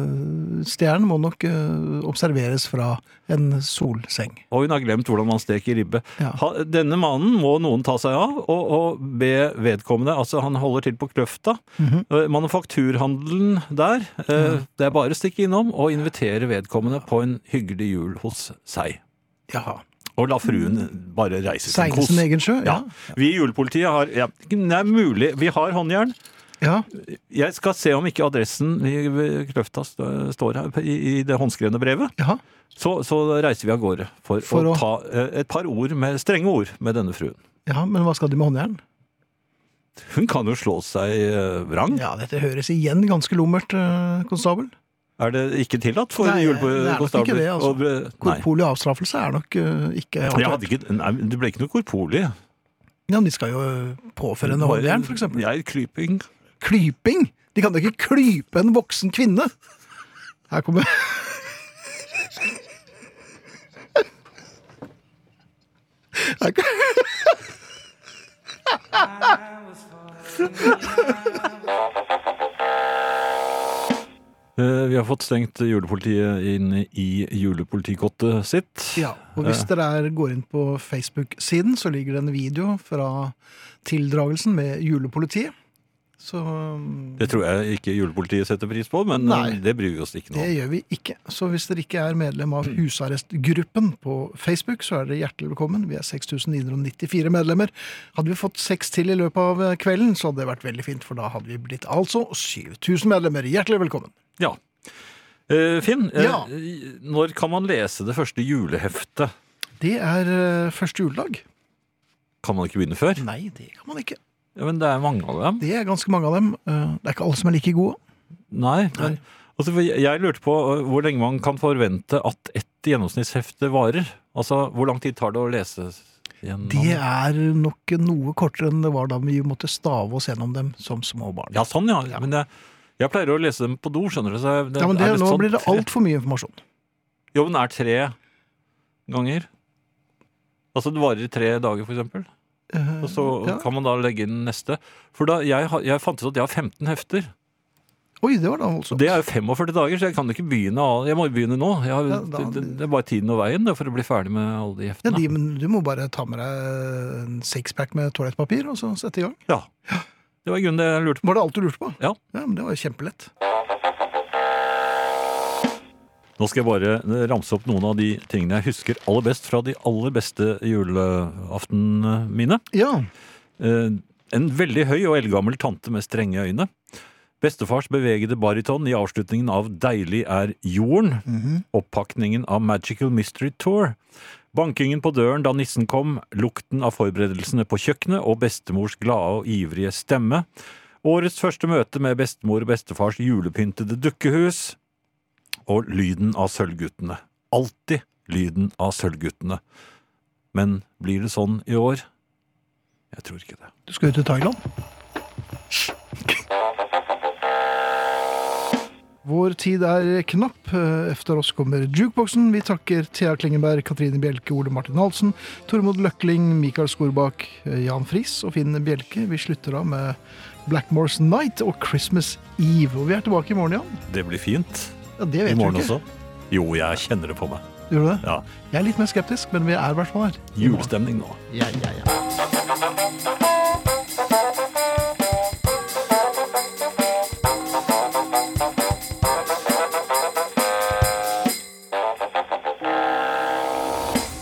S2: julestjernen må nok eh, observeres fra en solseng.
S3: Og hun har glemt hvordan man steker ribbe.
S2: Ja.
S3: Ha, denne mannen må noen ta seg av og, og be vedkommende Altså, han holder til på Kløfta.
S2: Mhm.
S3: Eh, Manufakturhandelen der. eh, Det er bare å stikke innom og invitere vedkommende på en hyggelig jul hos seg.
S2: Jaha.
S3: Og la fruen bare reise sin
S2: Mm. Seile
S3: kos.
S2: sin egen sjø?
S3: Ja. Vi i julepolitiet har ja, Det er mulig. Vi har håndjern.
S2: Ja.
S3: Jeg skal se om ikke adressen i Kløfta st- står her i i det håndskrevne brevet.
S2: Jaha.
S3: Så, så reiser vi av gårde for,
S2: For
S3: å,
S2: å-
S3: ta eh, et par ord med, strenge ord med denne fruen.
S2: ja, men hva skal de med håndjern?
S3: Hun kan jo slå seg eh, vrang.
S2: Ja, dette høres igjen ganske lummert, eh, konstabel.
S3: Er det ikke tillatt for
S2: Nei, det er nok ikke
S3: julekonstabler?
S2: det, altså. Korporlig avstraffelse er nok eh, ikke
S3: Jeg
S2: aktuelt.
S3: hadde ikke, nei, men det ble ikke noe korporlig.
S2: Ja, men de skal jo eh, påføre henne håndjern, for eksempel.
S3: Jeg er klyping.
S2: Klyping! De kan da ikke klype en voksen kvinne! Her kommer Her kom-
S3: Eh, Vi har fått stengt julepolitiet inn i julepolitikottet sitt.
S2: Ja, og hvis dere er, går inn på Facebook-siden, så ligger det en video fra tildragelsen med julepolitiet. Så um,
S3: Det tror jeg ikke julepolitiet setter pris på, men eh,
S2: Nei.
S3: det bryr vi oss ikke noe
S2: det
S3: om.
S2: gjør vi ikke. Så hvis dere ikke er medlem av husarrestgruppen på Facebook, så er dere hjertelig velkommen. Vi er 6994 medlemmer. Hadde vi fått seks til i løpet av eh, kvelden, så hadde det vært veldig fint, for da hadde vi blitt altså 7000 medlemmer. Hjertelig velkommen.
S3: Ja. Eh, Finn, eh,
S2: Ja.
S3: når kan man lese det første juleheftet?
S2: Det er eh, første juledag.
S3: Kan man ikke begynne før?
S2: Nei, det kan man ikke.
S3: Ja, men det er mange av dem.
S2: Det er ganske mange av dem. Eh, Det er ikke alle som er like gode.
S3: Nei. Men, altså, for jeg- jeg lurte på eh, hvor lenge man kan forvente at et gjennomsnittshefte varer. Altså, hvor lang tid tar det å lese gjennom?
S2: Det er nok noe kortere enn det var da vi måtte stave oss gjennom dem som små barn.
S3: Ja, sånn, ja. Men jeg, jeg pleier å lese dem på do, skjønner du. Så jeg-
S2: Ja, men det,
S3: er litt
S2: Nå
S3: sånn
S2: blir det
S3: tre-
S2: altfor mye informasjon.
S3: Jobben er tre ganger. Altså det varer i tre dager, for eksempel.
S2: Eh,
S3: Og så
S2: ja.
S3: kan man da legge inn neste. For da, jeg, har- jeg fant ut at jeg har 15 hefter.
S2: Oi, det var da voldsomt.
S3: Og det er jo 45 dager, så jeg kan ikke begynne av- Jeg må jo begynne nå. Jeg har,
S2: Ja, da-
S3: det, det er bare tiden og veien det, for å bli ferdig med alle de
S2: Ja,
S3: heftene.
S2: de, men Du må bare ta med deg en sixpack med toalettpapir og så sette i gang.
S3: Ja. Det var i grunnen det jeg lurte på.
S2: Var det alt du lurte på?
S3: Ja.
S2: ja men Det var jo kjempelett.
S3: Nå skal jeg bare eh, ramse opp noen av de tingene jeg husker aller best fra de aller beste julaftenene mine.
S2: Ja,
S3: Eh, en veldig høy og eldgammel tante med strenge øyne. Bestefars bevegede bariton i avslutningen av Deilig er jorden. Oppakningen av Magical Mystery Tour. Bankingen på døren da nissen kom, lukten av forberedelsene på kjøkkenet og bestemors glade og ivrige stemme. Årets første møte med bestemor og bestefars julepyntede dukkehus. Og lyden av Sølvguttene. Alltid lyden av Sølvguttene. Men blir det sånn i år? Jeg tror ikke det.
S2: Du skal jo til Thailand. Vår tid er knapp. Efter oss kommer jukeboksen. Vi takker Thea Klingenberg, Katrine Bjelke, Ole Martin Halsen, Tormod Løkling, Mikael Skorbakk, Jan Friis og Finn Bjelke. Vi slutter av med Blackmore's Night og Christmas Eve. Og vi er tilbake i morgen, Jan.
S3: Det blir fint
S2: Ja, det
S3: i
S2: vet du
S3: morgen
S2: ikke.
S3: også. Jo, jeg kjenner det på meg.
S2: Gjør du det?
S3: Ja,
S2: Jeg er litt mer skeptisk, men vi er i hvert fall her.
S3: Julestemning nå.
S6: Ja, ja, ja.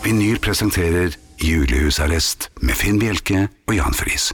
S4: Vinyl presenterer Julehusarrest med Finn Bjelke og Jan Friis.